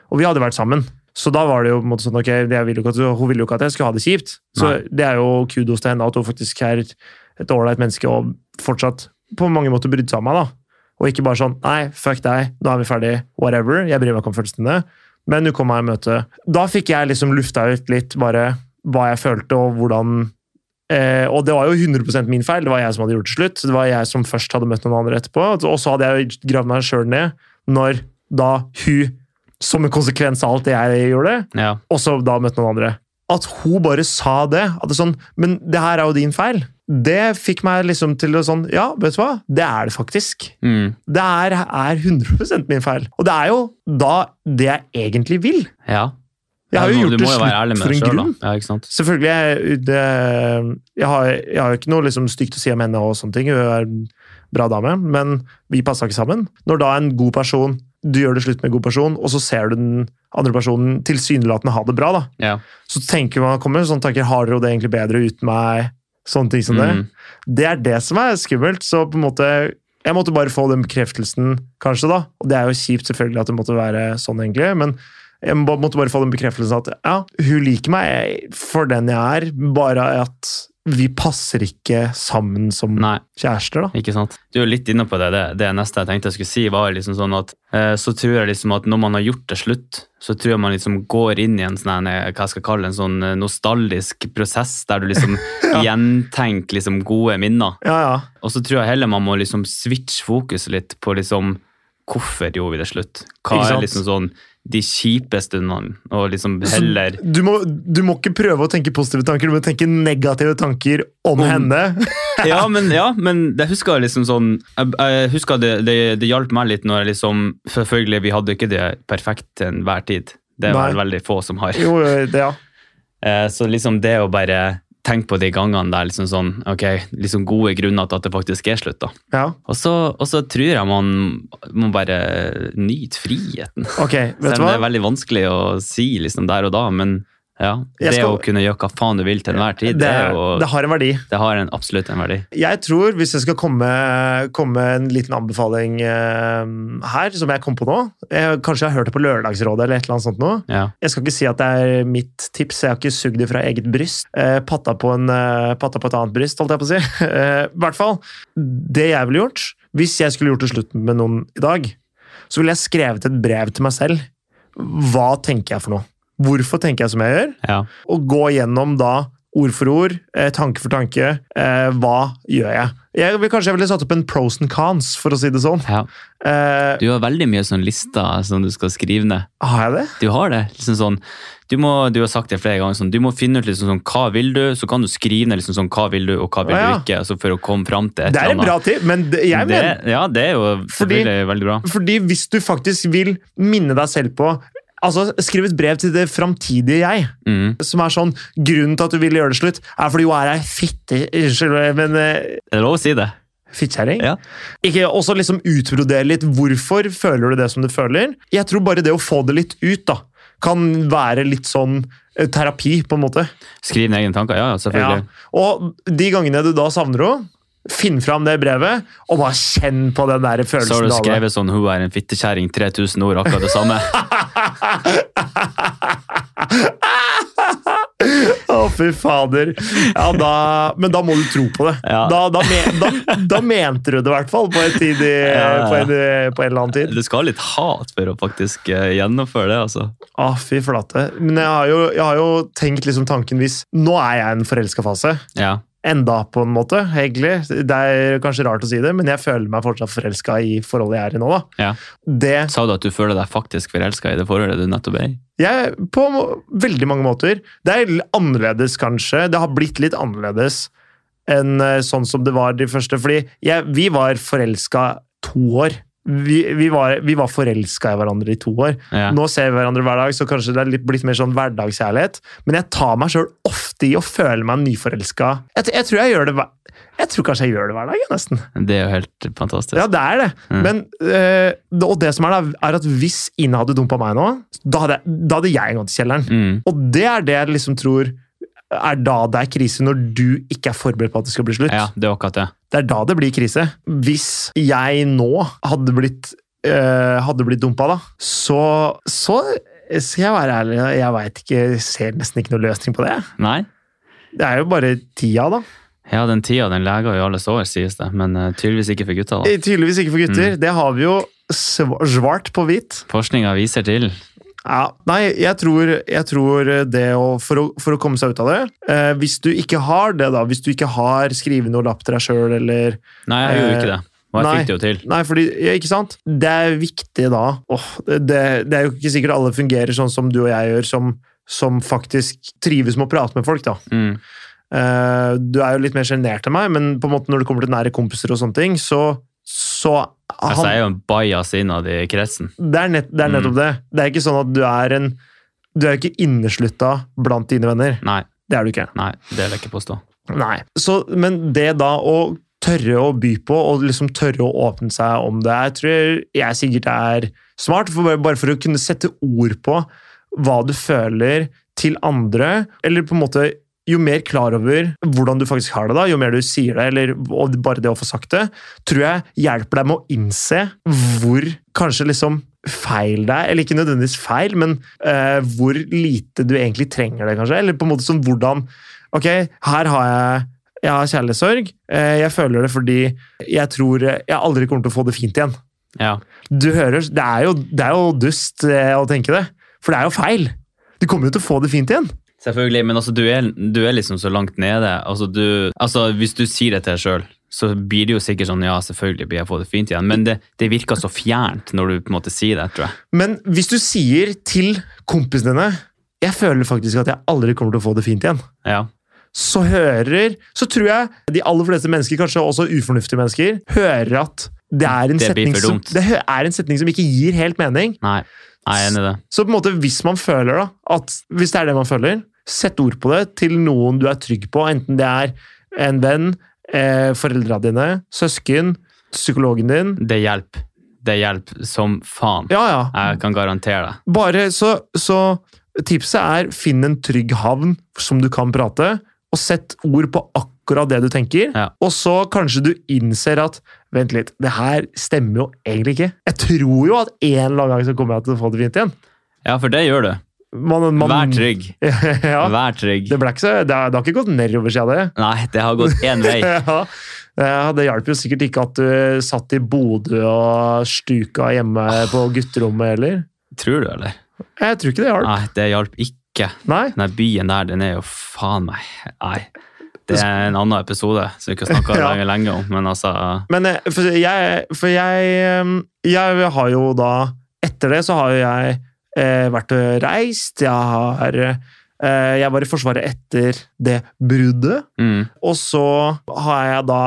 Speaker 1: Og vi hadde vært sammen. Så da var det jo på en måte sånn, ok, jeg vil jo ikke at, hun ville jo ikke at jeg skulle ha det kjipt. Så
Speaker 2: Nei.
Speaker 1: det er jo kudos til henne at hun faktisk er et ålreit menneske og fortsatt på mange måter brydde seg om meg. da. Og ikke bare sånn nei, fuck deg, nå er vi ferdig, whatever. Jeg bryr meg ikke om følelsene dine. Men du kom meg i møte. Da fikk jeg liksom lufta ut litt bare hva jeg følte og hvordan Eh, og det var jo 100 min feil. Det var jeg som hadde gjort det til slutt. Det var jeg som først hadde møtt noen andre etterpå. Og så hadde jeg jo gravd meg sjøl ned når da hun, som en konsekvens av alt det jeg gjorde,
Speaker 2: Ja.
Speaker 1: også da møtte noen andre. At hun bare sa det. At det er sånn, Men det her er jo din feil. Det fikk meg liksom til å sånn Ja, vet du hva? Det er det faktisk.
Speaker 2: Mm.
Speaker 1: Det er, er 100 min feil. Og det er jo da det jeg egentlig vil.
Speaker 2: ja.
Speaker 1: Jeg har
Speaker 2: Ja,
Speaker 1: jo
Speaker 2: du
Speaker 1: gjort det
Speaker 2: må jo være ærlig
Speaker 1: slutt
Speaker 2: med
Speaker 1: for en
Speaker 2: deg selv, da.
Speaker 1: grunn.
Speaker 2: Ja, ikke sant?
Speaker 1: Selvfølgelig, jeg- det, jeg, har, jeg har jo ikke noe liksom, stygt å si om henne og sånne ting. Hun er en bra dame, men vi passa ikke sammen. Når da en god person Du gjør det slutt med en god person, og så ser du den andre personen tilsynelatende ha det bra, da.
Speaker 2: Ja.
Speaker 1: Så tenker man kommer sånne tanker Har dere jo det egentlig bedre uten meg? Sånne ting som
Speaker 2: Mm.
Speaker 1: det. Det er det som er skummelt. Så på en måte Jeg måtte bare få den bekreftelsen, kanskje, da. Og det er jo kjipt, selvfølgelig, at det måtte være sånn, egentlig. men jeg må- måtte bare få den bekreftelsen at ja, hun liker meg for den jeg er, bare at vi passer ikke sammen som
Speaker 2: Nei,
Speaker 1: kjærester, da.
Speaker 2: ikke sant. Du er jo litt inne på det. Det, det neste jeg tenkte jeg skulle si, var liksom sånn at eh, så tror jeg liksom at når man har gjort det slutt, så tror jeg man liksom går inn i en sånn her, eh, hva jeg skal kalle det, en sånn eh, nostalgisk prosess der du
Speaker 1: (laughs)
Speaker 2: liksom gjentenker liksom gode minner.
Speaker 1: Ja, ja.
Speaker 2: Og så tror jeg heller man må liksom switche fokuset litt på liksom hvorfor gjorde vi det slutt? Hva
Speaker 1: Ikke
Speaker 2: er
Speaker 1: sant?
Speaker 2: liksom sånn de kjipe stundene, og liksom
Speaker 1: Så
Speaker 2: heller
Speaker 1: Du må, du må ikke prøve å tenke positive tanker, du må tenke negative tanker om,
Speaker 2: Om-
Speaker 1: henne.
Speaker 2: ja, men, ja, men det husker jeg liksom sånn Jeg, jeg husker det, det, det hjalp meg litt når jeg liksom Selvfølgelig, vi hadde ikke det perfekt til enhver tid. Det er vel
Speaker 1: Nei.
Speaker 2: veldig få som har.
Speaker 1: Jo, det, ja.
Speaker 2: Eh, Så liksom det å bare tenke på de gangene der liksom sånn Ok, liksom gode grunner til at det faktisk er slutt, da.
Speaker 1: ja.
Speaker 2: Og så, og så tror jeg man må bare nyte friheten.
Speaker 1: Ok, vet
Speaker 2: Selv
Speaker 1: du
Speaker 2: om det
Speaker 1: hva?
Speaker 2: er veldig vanskelig å si liksom der og da, men ja.
Speaker 1: Jeg
Speaker 2: Det
Speaker 1: skal-
Speaker 2: å kunne gjøre hva faen du vil til enhver tid, det, er jo,
Speaker 1: det har en verdi.
Speaker 2: det har en, absolutt en verdi.
Speaker 1: Jeg tror, hvis jeg skal komme, komme en liten anbefaling eh, her, som jeg kom på nå jeg, Kanskje jeg har hørt det på Lørdagsrådet eller et eller annet sånt nå.
Speaker 2: Ja.
Speaker 1: Jeg skal ikke si at det er mitt tips, jeg har ikke sugd det fra eget bryst. Eh, patta, på en, eh, patta på et annet bryst, holdt jeg på å si. (laughs) Eh, I hvert fall. Det jeg ville gjort, hvis jeg skulle gjort det slutt med noen i dag, så ville jeg skrevet et brev til meg selv. Hva tenker jeg for noe? Hvorfor tenker jeg som jeg gjør?
Speaker 2: ja.
Speaker 1: og gå gjennom da ord for ord, eh, tanke for tanke. Eh, hva gjør jeg? Jeg vil kanskje jeg ville satt opp en pros and cons, for å si det sånn.
Speaker 2: ja.
Speaker 1: Eh,
Speaker 2: Du har veldig mye sånn lister som du skal skrive ned.
Speaker 1: har jeg det?
Speaker 2: Du har det. Liksom sånn, du, må, du har sagt det flere ganger. Sånn, du må finne ut liksom sånn, hva vil du, så kan du skrive ned liksom sånn, hva vil du og hva vil
Speaker 1: Ja, ja.
Speaker 2: du ikke. Altså for å komme fram til et
Speaker 1: Det er en
Speaker 2: eller
Speaker 1: bra tid, men det, jeg
Speaker 2: det,
Speaker 1: mener
Speaker 2: ja, det er jo
Speaker 1: Fordi-
Speaker 2: selvfølgelig veldig bra.
Speaker 1: Fordi hvis du faktisk vil minne deg selv på Altså, Skriv et brev til det framtidige jeg,
Speaker 2: Mm.
Speaker 1: som er sånn Grunnen til at du ville gjøre det slutt, er fordi hun er ei fitte Unnskyld, men eh,
Speaker 2: Det er lov å si det.
Speaker 1: Fittkjerring?
Speaker 2: Ja.
Speaker 1: Ikke også liksom utbrodere litt. Hvorfor føler du det som du føler? Jeg tror bare det å få det litt ut, da, kan være litt sånn eh, terapi, på en måte.
Speaker 2: Skriv ned egne tanker. Ja, ja,
Speaker 1: Ja.
Speaker 2: selvfølgelig.
Speaker 1: Og de gangene du da savner henne, finn fram det brevet, og bare kjenn på den der følelsen.
Speaker 2: Så har du
Speaker 1: av det.
Speaker 2: skrevet sånn 'Hun er en fittekjerring', 3000 ord, akkurat det samme.
Speaker 1: (laughs) Å, fy fader. Ja, da, men da må du tro på det.
Speaker 2: Ja.
Speaker 1: Da, da, men, da, da mente du det i hvert fall, på, et tid i-
Speaker 2: Ja, ja,
Speaker 1: på,
Speaker 2: ja.
Speaker 1: en, på en eller annen tid.
Speaker 2: Du skal ha litt hat for å faktisk eh, gjennomføre det, altså.
Speaker 1: Å, fy flate. Men jeg har jo, jeg har jo tenkt liksom tanken hvis Nå er jeg i en forelska fase.
Speaker 2: Ja.
Speaker 1: Enda, på en måte, egentlig. Det er kanskje rart å si det, men jeg føler meg fortsatt forelska i forholdet jeg er i nå, da.
Speaker 2: ja.
Speaker 1: Det
Speaker 2: Sa du at du føler deg faktisk forelska i det forholdet du nettopp er i?
Speaker 1: jeg, På må- veldig mange måter. Det er litt annerledes, kanskje. Det har blitt litt annerledes enn eh, sånn som det var de første. Fordi jeg, vi var forelska to år. Vi, vi var, vi var forelska i hverandre i to år.
Speaker 2: Ja.
Speaker 1: Nå ser vi hverandre hver dag, så kanskje det er litt, blitt mer sånn hverdagskjærlighet. Men jeg tar meg sjøl ofte i å føle meg nyforelska. Jeg, t- jeg tror jeg gjør det hver jeg tror kanskje jeg gjør det hver dag, jeg, nesten.
Speaker 2: Det er jo helt fantastisk.
Speaker 1: Ja, det er det.
Speaker 2: Mm.
Speaker 1: Men, eh, det- og det som er, da, er at hvis Ina hadde dumpa meg nå, da hadde, jeg- da hadde jeg gått i kjelleren.
Speaker 2: Mm.
Speaker 1: Og det er det jeg liksom tror er da det er krise, når du ikke er forberedt på at det skal bli slutt.
Speaker 2: ja, det er akkurat det.
Speaker 1: Det er da det blir krise. Hvis jeg nå hadde blitt, eh, hadde blitt dumpa, da, så, så skal jeg være ærlig, jeg veit ikke jeg Ser nesten ikke noe løsning på det.
Speaker 2: Nei?
Speaker 1: Det er jo bare tida, da.
Speaker 2: Ja, den tida den leger i alle sår, sies det. Men eh, tydeligvis ikke for gutta, da.
Speaker 1: Eh, Tydeligvis ikke for gutter. Det har vi jo sv- svart på hvit.
Speaker 2: Forskninga viser til
Speaker 1: Ja, nei, jeg tror, jeg tror det å, for, å, for å komme seg ut av det eh, Hvis du ikke har det, da, hvis du ikke har skrevet noe lapp til deg sjøl, eller
Speaker 2: Nei, jeg gjorde
Speaker 1: Eh,
Speaker 2: ikke det. Og jeg
Speaker 1: nei.
Speaker 2: fikk det jo til.
Speaker 1: Nei, fordi, ja, ikke sant? Det er viktig da. Åh, det, det er jo ikke sikkert alle fungerer sånn som du og jeg gjør, som, som faktisk trives med å prate med folk, da.
Speaker 2: Mm.
Speaker 1: Eh, du er jo litt mer sjenert enn meg, men på en måte når det kommer til nære kompiser og sånne ting, så, så Ah,
Speaker 2: Altså,
Speaker 1: han-
Speaker 2: jeg er jo Mm. en bajas innad i kretsen.
Speaker 1: Det er, nett, det er nettopp det. Det er ikke sånn at du er en Du er ikke inneslutta blant dine venner.
Speaker 2: Nei,
Speaker 1: Det er du ikke.
Speaker 2: nei, det vil jeg ikke påstå.
Speaker 1: Nei. Så, men det da å tørre å by på, og liksom tørre å åpne seg om det, jeg tror jeg sikkert er smart, for bare, bare for å kunne sette ord på hva du føler til andre, eller på en måte jo mer klar over hvordan du faktisk har det, da, jo mer du sier det, eller og bare det å få sagt det, tror jeg hjelper deg med å innse hvor kanskje liksom feil det er, eller ikke nødvendigvis feil, men eh, hvor lite du egentlig trenger det, kanskje. Eller på en måte sånn hvordan Ok, her har jeg jeg har kjærlighetssorg. Eh, Jeg føler det fordi jeg tror jeg aldri kommer til å få det fint igjen.
Speaker 2: Ja.
Speaker 1: Du hører, Det er jo, det er jo dust eh, å tenke det, for det er jo feil. Du kommer jo til å få det fint igjen.
Speaker 2: Selvfølgelig, men altså, du, er, du er liksom så langt nede. Altså, du, altså, hvis du sier det til deg sjøl, så blir det jo sikkert sånn ja, selvfølgelig blir jeg få det fint igjen, men det, det virker så fjernt når du på en måte sier det, tror jeg.
Speaker 1: Men hvis du sier til kompisene dine jeg føler faktisk at jeg aldri kommer til å få det fint igjen,
Speaker 2: Ja.
Speaker 1: så hører Så tror jeg de aller fleste mennesker, kanskje også ufornuftige mennesker, hører at det er en,
Speaker 2: Det blir
Speaker 1: setning
Speaker 2: for
Speaker 1: som,
Speaker 2: dumt.
Speaker 1: det hø- er en setning som ikke gir helt mening.
Speaker 2: Nei, jeg er enig i det.
Speaker 1: Så på en måte, hvis man føler da, at hvis det er det man føler, sett ord på det til noen du er trygg på, enten det er en venn, eh, foreldra dine, søsken, psykologen din.
Speaker 2: Det hjelper. Det hjelper som faen.
Speaker 1: Ja, ja.
Speaker 2: Jeg kan garantere det.
Speaker 1: Bare så, så tipset er finn en trygg havn som du kan prate, og sett ord på akkurat det du tenker.
Speaker 2: Ja.
Speaker 1: Og så kanskje du innser at vent litt, det her stemmer jo egentlig ikke. Jeg tror jo at en eller annen gang så kommer jeg til å få det fint igjen.
Speaker 2: Ja, for det gjør du.
Speaker 1: Man, man,
Speaker 2: Vær trygg.
Speaker 1: (laughs) ja.
Speaker 2: Vær trygg.
Speaker 1: Det, ble ikke så, det, har, det har ikke gått nedover siden det.
Speaker 2: Nei, det har gått én vei.
Speaker 1: (laughs) Ja. Ja, det hjalp jo sikkert ikke at du satt i Bodø og stuka hjemme på gutterommet heller.
Speaker 2: Tror du, eller?
Speaker 1: Jeg tror ikke det hjalp.
Speaker 2: Nei, det hjalp ikke.
Speaker 1: Nei.
Speaker 2: Den byen der, den er jo faen meg Nei. Det er en annen episode som vi ikke har
Speaker 1: (laughs)
Speaker 2: snakka
Speaker 1: Ja.
Speaker 2: lenge, lenge om, men altså
Speaker 1: Men eh, for jeg, for jeg, eh, jeg har jo da Etter det så har jo jeg eh, vært og reist. Jeg har eh, Jeg var i Forsvaret etter det bruddet.
Speaker 2: mm,
Speaker 1: Og så har jeg da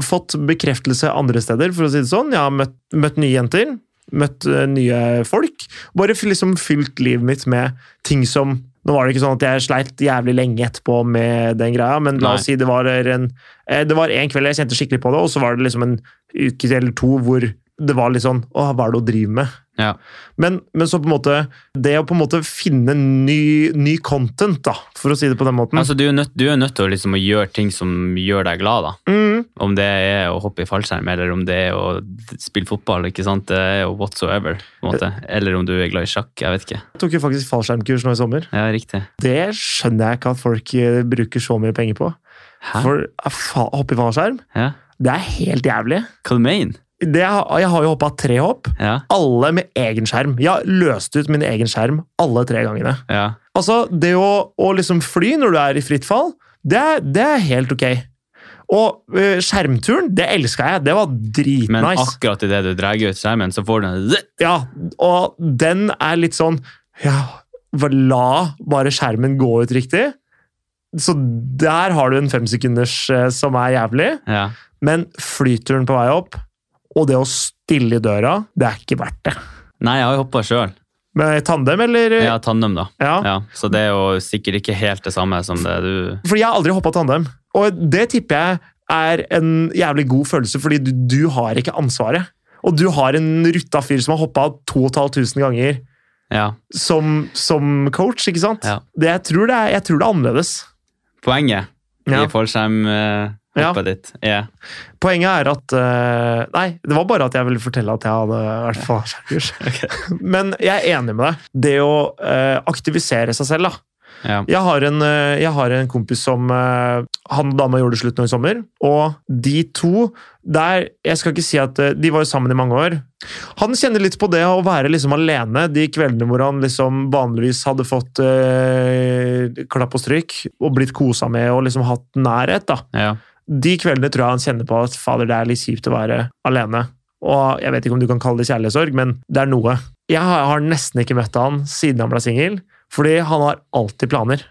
Speaker 1: fått bekreftelse andre steder, for å si det sånn. Jeg har møtt, møtt nye jenter, møtt eh, nye folk. Bare f- liksom fylt livet mitt med ting som Nå var det ikke sånn at jeg sleit jævlig lenge etterpå med den greia, men la oss si det var en, eh, det var en kveld jeg kjente skikkelig på det, og så var det liksom en uke eller to hvor det var litt sånn Å, hva er det å drive med?
Speaker 2: Ja.
Speaker 1: Men, men så på en måte Det å på en måte finne ny, ny content, da, for å si det på den måten.
Speaker 2: Altså, du er jo nødt, du er nødt til å, liksom, å gjøre ting som gjør deg glad, da.
Speaker 1: mm.
Speaker 2: Om det er å hoppe i fallskjerm, eller om det er å spille fotball, ikke sant. Det er jo whatsoever, på en måte.
Speaker 1: Eh.
Speaker 2: Eller om du er glad i sjakk, jeg vet ikke.
Speaker 1: Jeg tok jo faktisk fallskjermkurs nå i sommer.
Speaker 2: Ja, riktig.
Speaker 1: Det skjønner jeg ikke at folk eh, bruker så mye penger på.
Speaker 2: Hæ?
Speaker 1: For eh, fa hoppe i fallskjerm,
Speaker 2: Ja.
Speaker 1: det er helt jævlig.
Speaker 2: Hva du mener
Speaker 1: Det, har- jeg har jo hoppa tre hopp,
Speaker 2: Ja,
Speaker 1: alle med egen skjerm. Jeg har løst ut min egen skjerm alle tre gangene.
Speaker 2: ja.
Speaker 1: Altså, det å, å liksom fly når du er i fritt fall, det, er- det er helt ok. Og eh, skjermturen, det elska jeg. Det var dritnice.
Speaker 2: Men akkurat idet du drar ut skjermen, så får du en zzz.
Speaker 1: Ja, og den er litt sånn Ja, hva- la bare skjermen gå ut riktig. Så der har du en femsekunders eh, som er jævlig.
Speaker 2: Ja.
Speaker 1: Men flyturen på vei opp, og det å stille i døra, det er ikke verdt det.
Speaker 2: Nei, jeg har jo hoppa sjøl.
Speaker 1: Med tandem, eller?
Speaker 2: Ja, tandem, da.
Speaker 1: Ja.
Speaker 2: Ja, så det er jo sikkert ikke helt det samme som det du
Speaker 1: For jeg har aldri hoppa tandem. Og det tipper jeg er en jævlig god følelse, fordi du, du har ikke ansvaret. Og du har en rutta fyr som har hoppa 2500 ganger.
Speaker 2: Ja.
Speaker 1: som, som coach, ikke sant?
Speaker 2: Ja.
Speaker 1: Det, jeg, tror det er, jeg tror det er annerledes.
Speaker 2: Poenget
Speaker 1: Ja.
Speaker 2: i fallskjermhoppet
Speaker 1: Ja.
Speaker 2: ditt er
Speaker 1: Poenget er at eh, Nei, det var bare at jeg ville fortelle at jeg hadde vært på (laughs) fallskjermkurs. Men jeg er enig med deg. Det å eh, aktivisere seg selv, da.
Speaker 2: Ja.
Speaker 1: Jeg har en, eh, jeg har en kompis som eh, Han og dama gjorde det slutt nå i sommer, og de to der, Jeg skal ikke si at eh, De var jo sammen i mange år. Han kjenner litt på det å være liksom alene de kveldene hvor han liksom vanligvis hadde fått eh, klapp og stryk og blitt kosa med og liksom hatt nærhet. da.
Speaker 2: ja.
Speaker 1: De kveldene tror jeg han kjenner på at fader, det er litt kjipt å være alene. Og jeg vet ikke om du kan kalle det kjærlighetssorg, men det er noe. Jeg har har nesten ikke møtt han siden han ble singel, fordi han har alltid planer.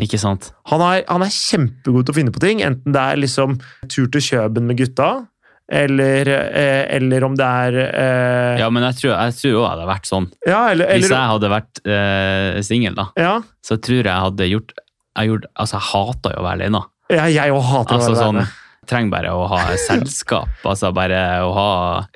Speaker 2: Ikke sant?
Speaker 1: Han er, han er kjempegod til å finne på ting, enten det er liksom tur til Kjøben med gutta, eller, eh, eller om det er eh, ja.
Speaker 2: Ja, men jeg tror, jeg tror også jeg hadde vært sånn.
Speaker 1: eller,
Speaker 2: Hvis
Speaker 1: eller,
Speaker 2: jeg hadde vært eh, singel, da,
Speaker 1: ja.
Speaker 2: så tror jeg jeg hadde gjort Jeg, gjorde, altså, jeg hata jo å være alene.
Speaker 1: ja, jeg òg hater
Speaker 2: Altså
Speaker 1: å være
Speaker 2: sånn
Speaker 1: alene.
Speaker 2: Trenger bare å ha selskap. altså bare å ha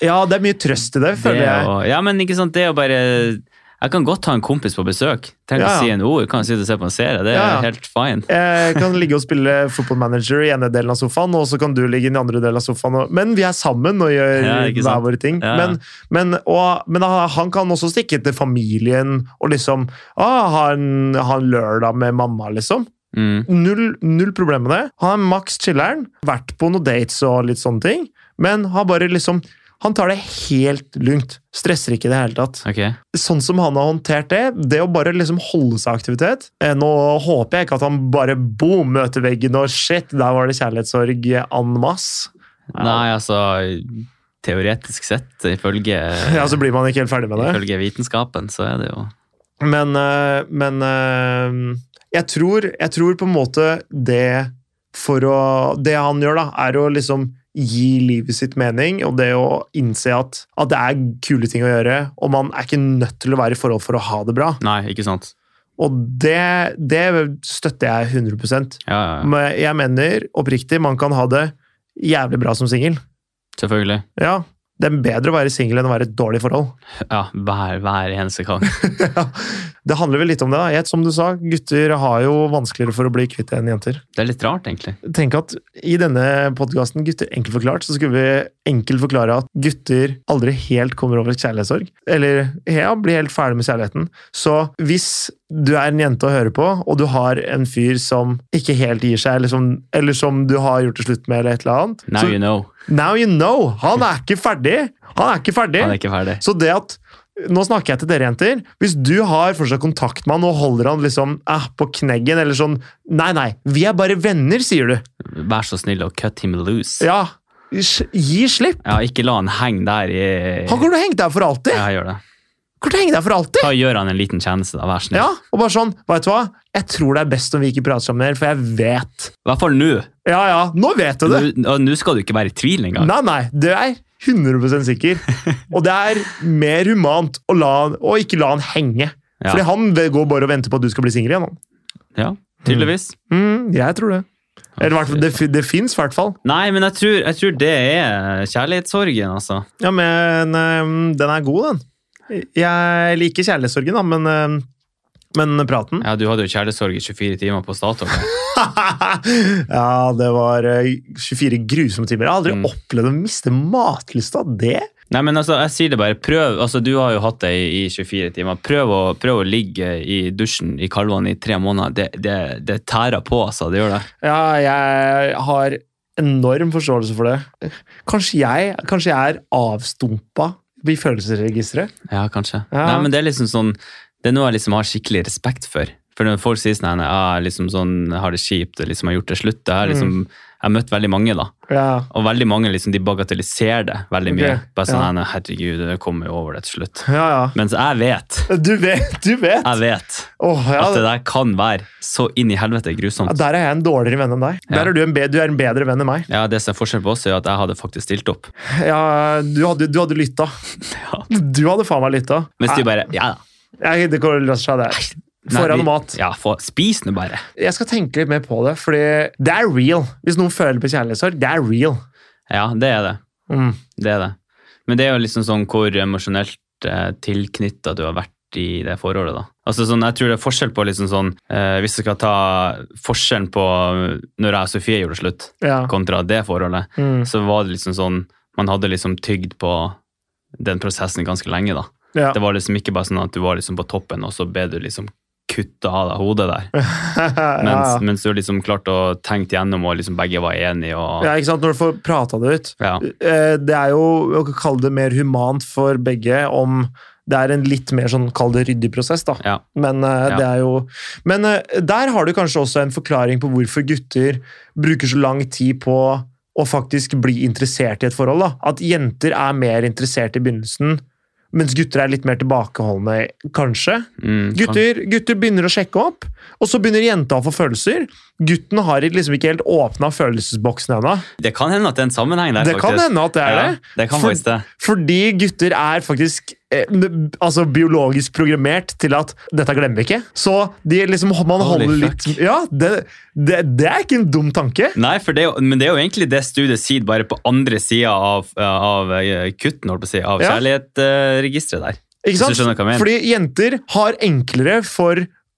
Speaker 1: Ja, det er mye trøst i det,
Speaker 2: det
Speaker 1: føler jeg.
Speaker 2: og, Ja, men ikke sant, det å bare Jeg kan godt ha en kompis på besøk. Tenk
Speaker 1: Ja,
Speaker 2: å
Speaker 1: ja.
Speaker 2: si en ord, kan sitte og se på en serie. Det er
Speaker 1: Ja, ja.
Speaker 2: helt fine.
Speaker 1: Jeg Eh, kan ligge og spille Football Manager i ene delen av sofaen, og så kan du ligge i den andre delen av sofaen. og- Men vi er sammen og gjør
Speaker 2: Ja, ikke
Speaker 1: hver
Speaker 2: sant?
Speaker 1: våre ting.
Speaker 2: Ja.
Speaker 1: Men, men, og, men han han kan også stikke til familien og liksom ah, ha, en, ha en lørdag med mamma, liksom.
Speaker 2: Mm.
Speaker 1: Null, null problem med det. Han er maks chiller'n. Vært på noen dates og litt sånne ting. Men han bare liksom Han tar det helt lugnt. Stresser ikke i det hele tatt.
Speaker 2: Ok.
Speaker 1: Sånn som han har håndtert det, det å bare liksom holde seg i aktivitet eh, Nå håper jeg ikke at han bare boom, møter veggen og shit, der var det kjærlighetssorg en masse. Ja.
Speaker 2: Nei, altså Teoretisk sett, ifølge,
Speaker 1: (laughs) Ja, så blir man ikke helt ferdig med det.
Speaker 2: ifølge vitenskapen, så er det jo
Speaker 1: Men, eh, men eh, jeg, tror, jeg tror på en måte det for å Det han gjør, da, er å liksom gi livet sitt mening, og det å innse at, at det er kule ting å gjøre, og man er ikke nødt til å være i forhold for å ha det bra.
Speaker 2: Nei, ikke sant?
Speaker 1: Og det, det støtter jeg 100
Speaker 2: Ja, ja, ja.
Speaker 1: Men jeg mener oppriktig, man kan ha det jævlig bra som singel.
Speaker 2: Selvfølgelig.
Speaker 1: Ja, det er bedre å være singel enn å være i et dårlig forhold.
Speaker 2: Ja, hver, hver eneste gang. (laughs)
Speaker 1: det handler vel litt om det, da. Jeg, som du sa, gutter har jo vanskeligere for å bli kvitt enn jenter.
Speaker 2: Det er litt rart, egentlig.
Speaker 1: Tenk at i denne podkasten Gutter enkelt forklart, så skulle vi enkelt forklare at gutter aldri helt kommer over kjærlighetssorg. Eller ja, blir helt ferdig med kjærligheten. Så hvis du er en jente å høre på, og du har en fyr som ikke helt gir seg, eller som, eller som du har gjort det slutt med, eller et eller annet
Speaker 2: Now
Speaker 1: så,
Speaker 2: you know.
Speaker 1: Now you know! Han er ikke ferdig! Han er ikke ferdig!
Speaker 2: Han er ikke ferdig.
Speaker 1: Så det at nå snakker jeg til dere jenter. Hvis du har fortsatt kontakt med han og holder han liksom eh, på kneggen eller sånn Nei, nei, vi er bare venner, sier du.
Speaker 2: Vær så snill og cut him loose. Ja,
Speaker 1: Ja, sj- gi slipp.
Speaker 2: ikke la han henge der i
Speaker 1: Han kommer til å henge deg for alltid.
Speaker 2: Ja, gjør det.
Speaker 1: Kommer til å henge deg for alltid.
Speaker 2: Da gjør han en liten tjeneste, da. Vær snill.
Speaker 1: Ja, og bare sånn, vet du hva? Jeg tror det er best om vi ikke prater sammen mer, for jeg vet.
Speaker 2: I hvert fall nå.
Speaker 1: Ja, ja, nå vet du det.
Speaker 2: Nå- og Nå skal du ikke være i tvil engang.
Speaker 1: Nei, nei, det er 100
Speaker 2: (laughs)
Speaker 1: sikker. Og det er mer humant å, la, å ikke la han henge.
Speaker 2: Ja.
Speaker 1: Fordi han går bare og venter på at du skal bli singel igjen. han.
Speaker 2: Ja, tydeligvis.
Speaker 1: Mm, jeg tror det. Eller i hvert fall, det, fi- det fins i hvert fall.
Speaker 2: Nei, men jeg tror, jeg tror det er kjærlighetssorgen, altså.
Speaker 1: Ja, men øhm, den er god, den. Jeg liker kjærlighetssorgen, da, men, øhm, men praten
Speaker 2: Ja, Du hadde jo kjærlighetssorg i 24 timer på Statoil.
Speaker 1: (laughs) Ja, det var øh, 24 grusomme timer. Jeg har aldri
Speaker 2: Mm.
Speaker 1: opplevd å miste matlysta. Det
Speaker 2: (laughs) Nei, men altså, jeg sier det bare. Prøv, altså Du har jo hatt det i, i 24 timer. Prøv å, prøv å ligge i dusjen i kalvene i tre måneder. Det, det, det tærer på, altså. Det gjør det.
Speaker 1: Ja, jeg har enorm forståelse for det. Kanskje jeg, kanskje jeg er avstumpa i følelsesregisteret?
Speaker 2: Ja, kanskje.
Speaker 1: Ja.
Speaker 2: Nei, men det er liksom sånn Det er noe jeg liksom har skikkelig respekt for. For når folk sier sånn, «Nei, jeg er liksom sånn jeg har det kjipt og liksom har gjort det slutt Jeg
Speaker 1: Mm.
Speaker 2: har liksom, jeg har møtt veldig mange, da.
Speaker 1: Ja.
Speaker 2: Og veldig mange liksom, de bagatelliserer det veldig
Speaker 1: Ok,
Speaker 2: mye. Bare sånn
Speaker 1: ja.
Speaker 2: «Nei, herregud, det kommer jo over det til slutt.
Speaker 1: ja,
Speaker 2: Mens jeg vet,
Speaker 1: ja. Du vet! Du vet.
Speaker 2: jeg vet
Speaker 1: Åh, ja.
Speaker 2: at det der kan være så inn i helvete
Speaker 1: Ja,
Speaker 2: grusomt.
Speaker 1: Der er jeg en dårligere venn enn deg.
Speaker 2: Ja.
Speaker 1: Der er du, en be du er en bedre venn enn meg.
Speaker 2: Ja, Det som er forskjell på oss, er jo at jeg hadde faktisk stilt opp.
Speaker 1: Ja, du hadde, du hadde lytta.
Speaker 2: Ja.
Speaker 1: Du hadde faen meg lytta.
Speaker 2: Mens de bare Ja, da.
Speaker 1: Jeg, det går løs seg der.
Speaker 2: Nei,
Speaker 1: Foran
Speaker 2: vi-
Speaker 1: mat.
Speaker 2: Ja, få- spis nå bare.
Speaker 1: Jeg skal tenke litt mer på det, fordi det er real. Hvis noen føler på kjærlighetssorg, det er real.
Speaker 2: Ja, det er det.
Speaker 1: Mm.
Speaker 2: Det er det. Men det er jo liksom sånn hvor emosjonelt eh, tilknytta du har vært i det forholdet, da. Altså sånn, Jeg tror det er forskjell på liksom sånn eh, Hvis jeg skal ta forskjellen på eh, når jeg og Sofie gjorde slutt,
Speaker 1: Ja.
Speaker 2: kontra det forholdet,
Speaker 1: Mm.
Speaker 2: så var det liksom sånn Man hadde liksom tygd på den prosessen ganske lenge, da.
Speaker 1: Ja.
Speaker 2: Det var liksom ikke bare sånn at du var liksom på toppen, og så ble du liksom kutta av deg hodet der.
Speaker 1: (laughs)
Speaker 2: Mens,
Speaker 1: ja.
Speaker 2: mens du har liksom klart å tenke gjennom, og liksom begge var enige. Og,
Speaker 1: ja, ikke sant? Når du får prata det ut.
Speaker 2: ja.
Speaker 1: Eh, Det er jo å kalle det mer humant for begge om det er en litt mer sånn, kall det ryddig prosess, da.
Speaker 2: Ja.
Speaker 1: Men eh,
Speaker 2: Ja.
Speaker 1: det er jo Men eh, der har du kanskje også en forklaring på hvorfor gutter bruker så lang tid på å faktisk bli interessert i et forhold. da. At jenter er mer interessert i begynnelsen, mens gutter er litt mer tilbakeholdne, kanskje.
Speaker 2: Mm,
Speaker 1: Gutter, gutter begynner å sjekke opp, og så begynner jenta å få følelser. Gutten har liksom ikke helt åpna følelsesboksen ennå.
Speaker 2: Det kan hende at det er en sammenheng der,
Speaker 1: Det
Speaker 2: faktisk.
Speaker 1: kan hende at det er
Speaker 2: Ja,
Speaker 1: det.
Speaker 2: det kan
Speaker 1: For-
Speaker 2: faktisk det.
Speaker 1: Fordi gutter er faktisk eh, n- altså biologisk programmert til at dette glemmer vi ikke. Så de liksom, man
Speaker 2: Holy
Speaker 1: holder
Speaker 2: fuck.
Speaker 1: litt Ja, det, det, det er ikke en dum tanke.
Speaker 2: Nei, for det, er jo- men det er jo egentlig det studiet sier, bare på andre sida av, av eh, kutten, holdt på å si, av
Speaker 1: Ja.
Speaker 2: kjærlighetsregisteret der.
Speaker 1: Ikke
Speaker 2: Hvis du skjønner
Speaker 1: sant?
Speaker 2: hva jeg mener.
Speaker 1: Fordi jenter har enklere for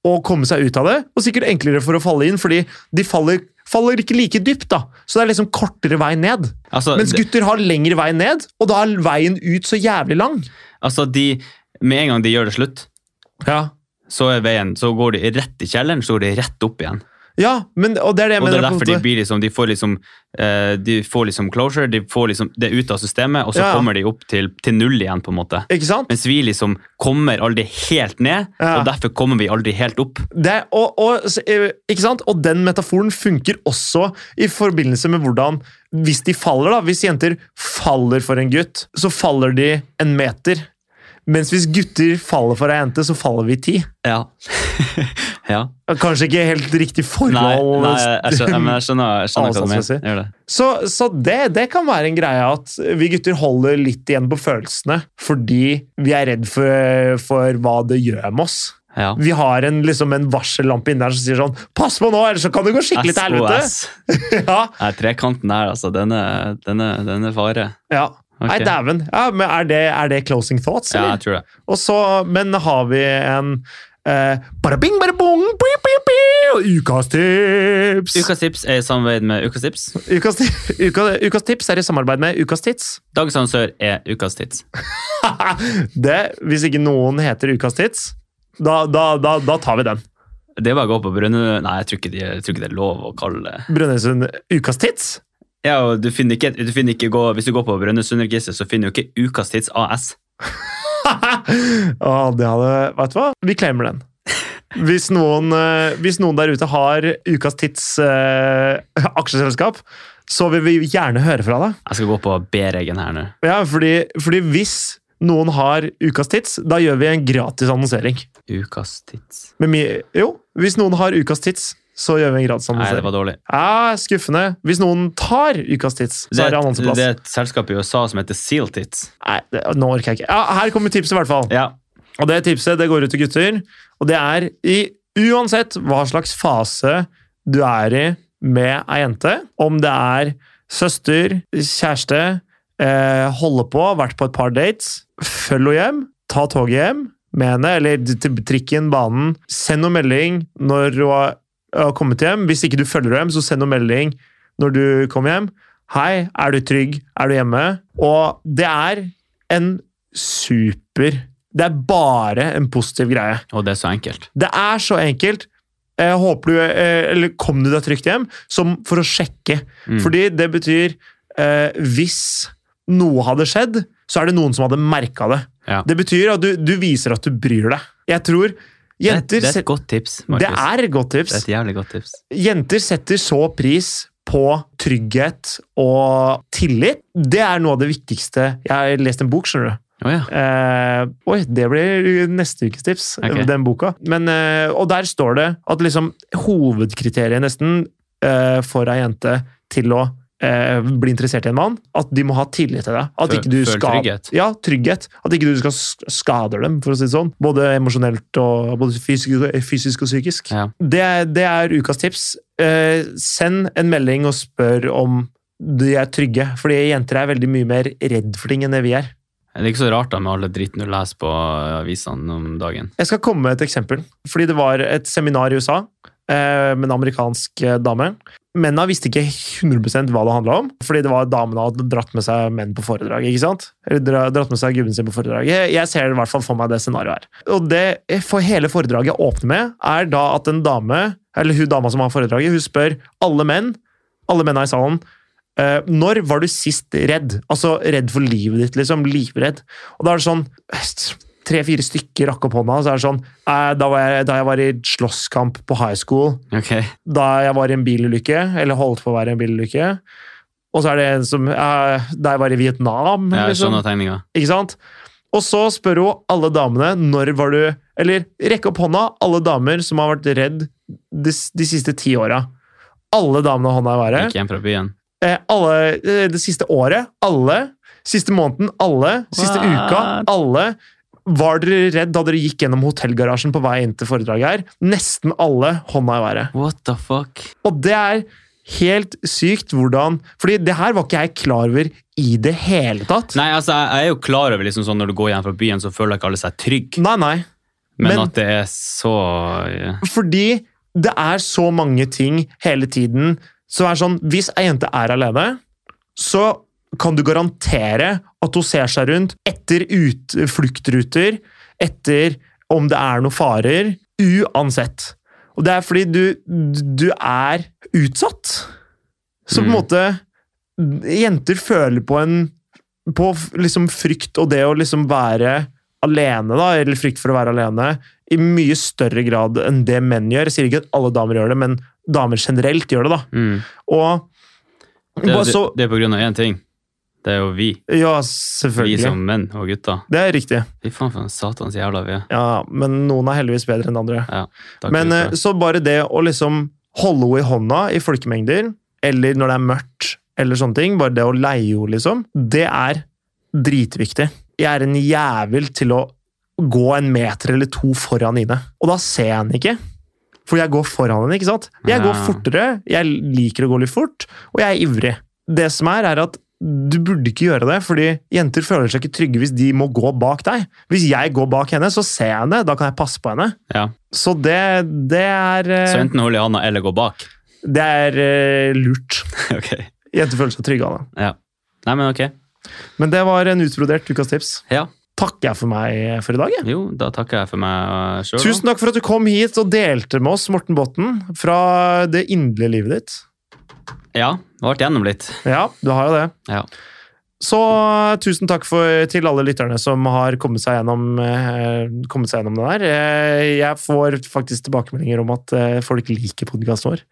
Speaker 1: å komme seg ut av det, og sikkert enklere for å falle inn, fordi de faller, faller ikke like dypt. da. Så det er liksom kortere vei ned.
Speaker 2: Altså,
Speaker 1: Mens
Speaker 2: det-
Speaker 1: gutter har lengre vei ned, og da er veien ut så jævlig lang.
Speaker 2: altså de, med en gang de gjør det slutt,
Speaker 1: Ja,
Speaker 2: så er veien, så går de rett i kjelleren, så går de rett opp igjen.
Speaker 1: men, og det er det jeg
Speaker 2: Og det
Speaker 1: mener.
Speaker 2: er
Speaker 1: på en
Speaker 2: derfor de
Speaker 1: måte.
Speaker 2: blir liksom, de får liksom, eh, de får liksom closure, de får liksom, det er ute av systemet, og så
Speaker 1: Ja.
Speaker 2: kommer de opp til, til null igjen, på en måte.
Speaker 1: Ikke sant?
Speaker 2: Mens vi liksom kommer aldri helt ned,
Speaker 1: Ja.
Speaker 2: og derfor kommer vi aldri helt opp.
Speaker 1: Det, og, og, s- eh, ikke sant? og den metaforen funker også i forbindelse med hvordan Hvis de faller, da. Hvis jenter faller for en gutt, så faller de en meter. Mens hvis gutter faller for ei jente, så faller vi ti.
Speaker 2: Ja. (laughs) ja.
Speaker 1: Kanskje ikke helt riktig forhold.
Speaker 2: Nei, nei jeg, skjønner, men jeg skjønner, jeg skjønner hva du mener.
Speaker 1: Avstandsmessig.
Speaker 2: Jeg gjør det.
Speaker 1: Så, så det, det kan være en greie at vi gutter holder litt igjen på følelsene fordi vi er redd for, eh, for hva det gjør med oss.
Speaker 2: Ja.
Speaker 1: Vi har en, liksom en varsellampe inni der som sier sånn Pass på nå, ellers så kan det gå skikkelig til helvete!
Speaker 2: SOS.
Speaker 1: Ja,
Speaker 2: Nei, trekanten her, altså. Den er, den er, den er fare.
Speaker 1: ja.
Speaker 2: Ok.
Speaker 1: Nei, dæven. Ja, men er det, er det closing thoughts,
Speaker 2: Ja, jeg
Speaker 1: eller?
Speaker 2: tror det.
Speaker 1: Og så, men har vi en eh, Bara bing, bara bong, piu, piu, piu, Ukas tips!
Speaker 2: Ukas tips er i samarbeid med Ukas tips.
Speaker 1: Ukas, ti- (laughs) uka, ukas tips er i samarbeid med Ukas Tits. (laughs)
Speaker 2: Dagens annonsør er Ukas tids.
Speaker 1: det, hvis ikke noen heter Ukas Tits, da, da, da, da tar vi den.
Speaker 2: Det er bare å gå på Brønnøy Nei, jeg tror, ikke de, jeg tror ikke det er lov å kalle det
Speaker 1: Brønnøysund Ukas Tits.
Speaker 2: ja, og du finner ikke, du finner ikke gå, Hvis du går på Brønnøysundregisteret, så finner du ikke Ukas tids AS.
Speaker 1: Å, det hadde Vet du hva? Vi claimer den. Hvis noen, eh, hvis noen der ute har Ukas Tits eh, aksjeselskap, så vil vi gjerne høre fra deg.
Speaker 2: Jeg skal gå på B-regen her nå.
Speaker 1: Ja, fordi, fordi hvis noen har Ukas Tits, da gjør vi en gratis annonsering.
Speaker 2: Ukas tids.
Speaker 1: Men mi, jo, hvis noen har Ukas Tits, så gjør vi en gratis
Speaker 2: Nei, det
Speaker 1: annonsering.
Speaker 2: var dårlig.
Speaker 1: Ja, skuffende. Hvis noen tar Ukas Tits, så er
Speaker 2: Det er,
Speaker 1: det
Speaker 2: et, det
Speaker 1: annonseplass.
Speaker 2: er et selskap i USA som heter Seal Tits.
Speaker 1: Nei, det, nå orker jeg ikke. Ja, her kommer tipset, i hvert fall.
Speaker 2: Ja.
Speaker 1: Og det tipset det går ut til gutter, og det er i uansett hva slags fase du er i med ei jente, om det er søster, kjæreste, eh, holde på, vært på et par dates, følg henne hjem, ta toget hjem med henne, eller til trikken, banen, send henne melding når hun har har kommet hjem. Hvis ikke du følger henne hjem, så send henne melding når du kommer hjem. Hei, er du trygg? Er du hjemme? Og det er en super det er bare en positiv greie.
Speaker 2: Og det er så enkelt.
Speaker 1: Det er så enkelt. Eh, håper du, eh, eller kom du deg trygt hjem, som for å sjekke.
Speaker 2: Mm.
Speaker 1: Fordi det betyr eh, hvis noe hadde skjedd, så er det noen som hadde merka det.
Speaker 2: Ja.
Speaker 1: Det betyr at du, du viser at du bryr deg. Jeg tror
Speaker 2: Det er,
Speaker 1: jenter
Speaker 2: det er
Speaker 1: set-
Speaker 2: et godt tips, Markus.
Speaker 1: Det er et godt
Speaker 2: Det er
Speaker 1: tips.
Speaker 2: et jævlig godt tips.
Speaker 1: Jenter setter så pris på trygghet og tillit. Det er noe av det viktigste. Jeg har lest en bok, skjønner du.
Speaker 2: Å ja.
Speaker 1: Eh, oi, det blir neste ukes tips,
Speaker 2: Ok.
Speaker 1: den boka. Men, eh, og der står det at liksom, hovedkriteriet nesten eh, for ei jente til å eh, bli interessert i en mann, at de må ha tillit til deg. At
Speaker 2: Føl-
Speaker 1: ikke du
Speaker 2: føl
Speaker 1: skal,
Speaker 2: trygghet.
Speaker 1: Ja, trygghet. At ikke du skal sk- skade dem, for å si det sånn. Både emosjonelt og både fysisk, fysisk og psykisk.
Speaker 2: Ja.
Speaker 1: Det, er- det er ukas tips. Eh, send en melding og spør om de er trygge, fordi jenter er veldig mye mer redd for ting enn det vi er.
Speaker 2: Det er ikke så rart da med all den dritten du leser på avisene om dagen.
Speaker 1: Jeg skal komme med et eksempel. Fordi det var et seminar i USA eh, med en amerikansk eh, dame. Mennene visste ikke 100 hva det handla om, fordi det var damene hadde dratt med seg menn på foredrag. ikke sant? Eller dra- dratt med seg gubben sin på foredrag. Jeg, jeg ser i hvert fall for meg det scenarioet her. Og det eh, for hele foredraget åpner med, er da at en dame, eller hun dama som har foredraget, hun spør alle menn, alle mennene i salen, eh, når var du sist redd? Altså redd for livet ditt, liksom. Livredd. Og da er det sånn Tre-fire stykker rakk opp hånda, og så er det sånn eh, da, var jeg, da jeg var i slåsskamp på high school,
Speaker 2: Ok.
Speaker 1: da jeg var i en bilulykke, eller holdt på å være i en bilulykke. Og så er det en som eh, Da jeg var i Vietnam,
Speaker 2: Ja, jeg
Speaker 1: liksom.
Speaker 2: skjønner tegninga.
Speaker 1: Ikke sant? Og så spør hun alle damene når var du Eller rekk opp hånda, alle damer som har vært redd de, de siste ti åra. Alle damene har hånda i været.
Speaker 2: Gikk hjem fra byen.
Speaker 1: Eh, alle, eh, det siste året, alle. Siste måneden, alle. Siste
Speaker 2: What?
Speaker 1: uka, alle. Var dere redd da dere gikk gjennom hotellgarasjen på vei inn til foredraget her? Nesten alle hånda i været.
Speaker 2: What the fuck?
Speaker 1: Og det er helt sykt hvordan Fordi det her var ikke jeg klar over i det hele tatt.
Speaker 2: Nei, altså, jeg jeg er jo klar over liksom sånn når du går hjem fra byen, så føler ikke alle seg trygge.
Speaker 1: nei. nei.
Speaker 2: Men,
Speaker 1: men-
Speaker 2: at det er så ja.
Speaker 1: Fordi det er så mange ting hele tiden som er sånn Hvis ei jente er alene, så kan du garantere at hun ser seg rundt etter ut, fluktruter, etter om det er noen farer, uansett. Og det er fordi du, du er utsatt. Så på en
Speaker 2: Mm.
Speaker 1: måte Jenter føler på en På f- liksom frykt og det å liksom være alene, da, eller frykt for å være alene, i mye større grad enn det menn gjør. Jeg sier ikke at alle damer gjør det, men damer generelt gjør det, da.
Speaker 2: mm.
Speaker 1: Og
Speaker 2: det,
Speaker 1: bare
Speaker 2: det,
Speaker 1: så
Speaker 2: det er på grunn av én ting. Det er jo vi.
Speaker 1: Ja,
Speaker 2: Vi
Speaker 1: selvfølgelig.
Speaker 2: som menn og gutter.
Speaker 1: Det er riktig.
Speaker 2: Fy faen for en satans jævla vi er.
Speaker 1: Ja, men noen er heldigvis bedre enn andre.
Speaker 2: Takk
Speaker 1: Men
Speaker 2: Gud
Speaker 1: eh,
Speaker 2: for det.
Speaker 1: så bare det å liksom holde henne i hånda i folkemengder, eller når det er mørkt, eller sånne ting, bare det å leie henne, liksom, det er dritviktig. Jeg er en jævel til å gå en meter eller to foran Ine. Og da ser jeg henne ikke. For jeg går foran henne, ikke sant? Jeg går
Speaker 2: Ja.
Speaker 1: fortere, jeg liker å gå litt fort, og jeg er ivrig. Det som er, er at du burde ikke gjøre det, fordi jenter føler seg ikke trygge hvis de må gå bak deg. Hvis jeg går bak henne, så ser jeg henne, da kan jeg passe på henne.
Speaker 2: ja.
Speaker 1: Så det, det er eh,
Speaker 2: Så enten holder jeg handa eller går bak. (laughs)
Speaker 1: Det er eh, lurt.
Speaker 2: ok.
Speaker 1: Jenter føler seg trygge av det.
Speaker 2: Ja. Nei, men ok.
Speaker 1: Men det var en utbrodert ukas tips.
Speaker 2: Ja.
Speaker 1: Takker jeg for meg eh, for i dag. Jeg.
Speaker 2: Jo, da takker jeg for meg eh, sjøl.
Speaker 1: Tusen takk for at du kom hit og delte med oss, Morten Botten, fra det inderlige livet ditt.
Speaker 2: Ja, vært gjennom litt.
Speaker 1: Ja, du har jo det.
Speaker 2: Ja.
Speaker 1: Så eh, tusen takk for, til alle lytterne som har kommet seg gjennom, eh, kommet seg gjennom det der. Eh, jeg får faktisk tilbakemeldinger om at eh, folk liker podkasten vår.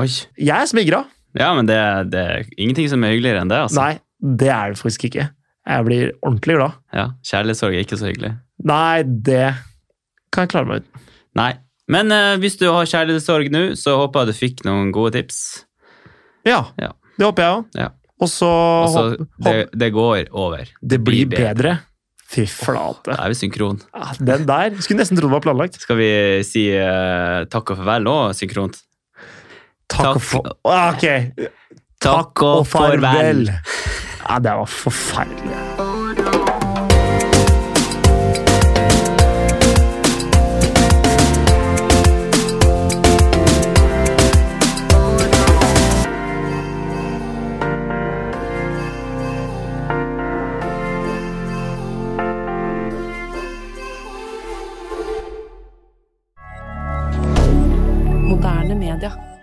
Speaker 2: Oi.
Speaker 1: Jeg er smigra!
Speaker 2: Ja, men det, det er ingenting som er hyggeligere enn det, altså.
Speaker 1: Nei, det er det faktisk ikke. Jeg blir ordentlig glad.
Speaker 2: Ja, Kjærlighetssorg er ikke så hyggelig.
Speaker 1: Nei, det kan jeg klare meg uten.
Speaker 2: Nei. Men eh, hvis du har kjærlighetssorg nå, så håper jeg du fikk noen gode tips.
Speaker 1: Ja,
Speaker 2: Ja.
Speaker 1: det håper jeg òg.
Speaker 2: Ja.
Speaker 1: Og så
Speaker 2: Altså,
Speaker 1: håp,
Speaker 2: det, det går over.
Speaker 1: det blir bedre. Fy flate.
Speaker 2: Da er vi synkron.
Speaker 1: Ja, Den der skulle nesten tro det var planlagt.
Speaker 2: Skal vi si eh, takk og farvel nå, synkront?
Speaker 1: Takk
Speaker 2: Takk.
Speaker 1: og for... Ah, Ok. Takk og farvel. Ja, det var forferdelig.
Speaker 3: Moderne media.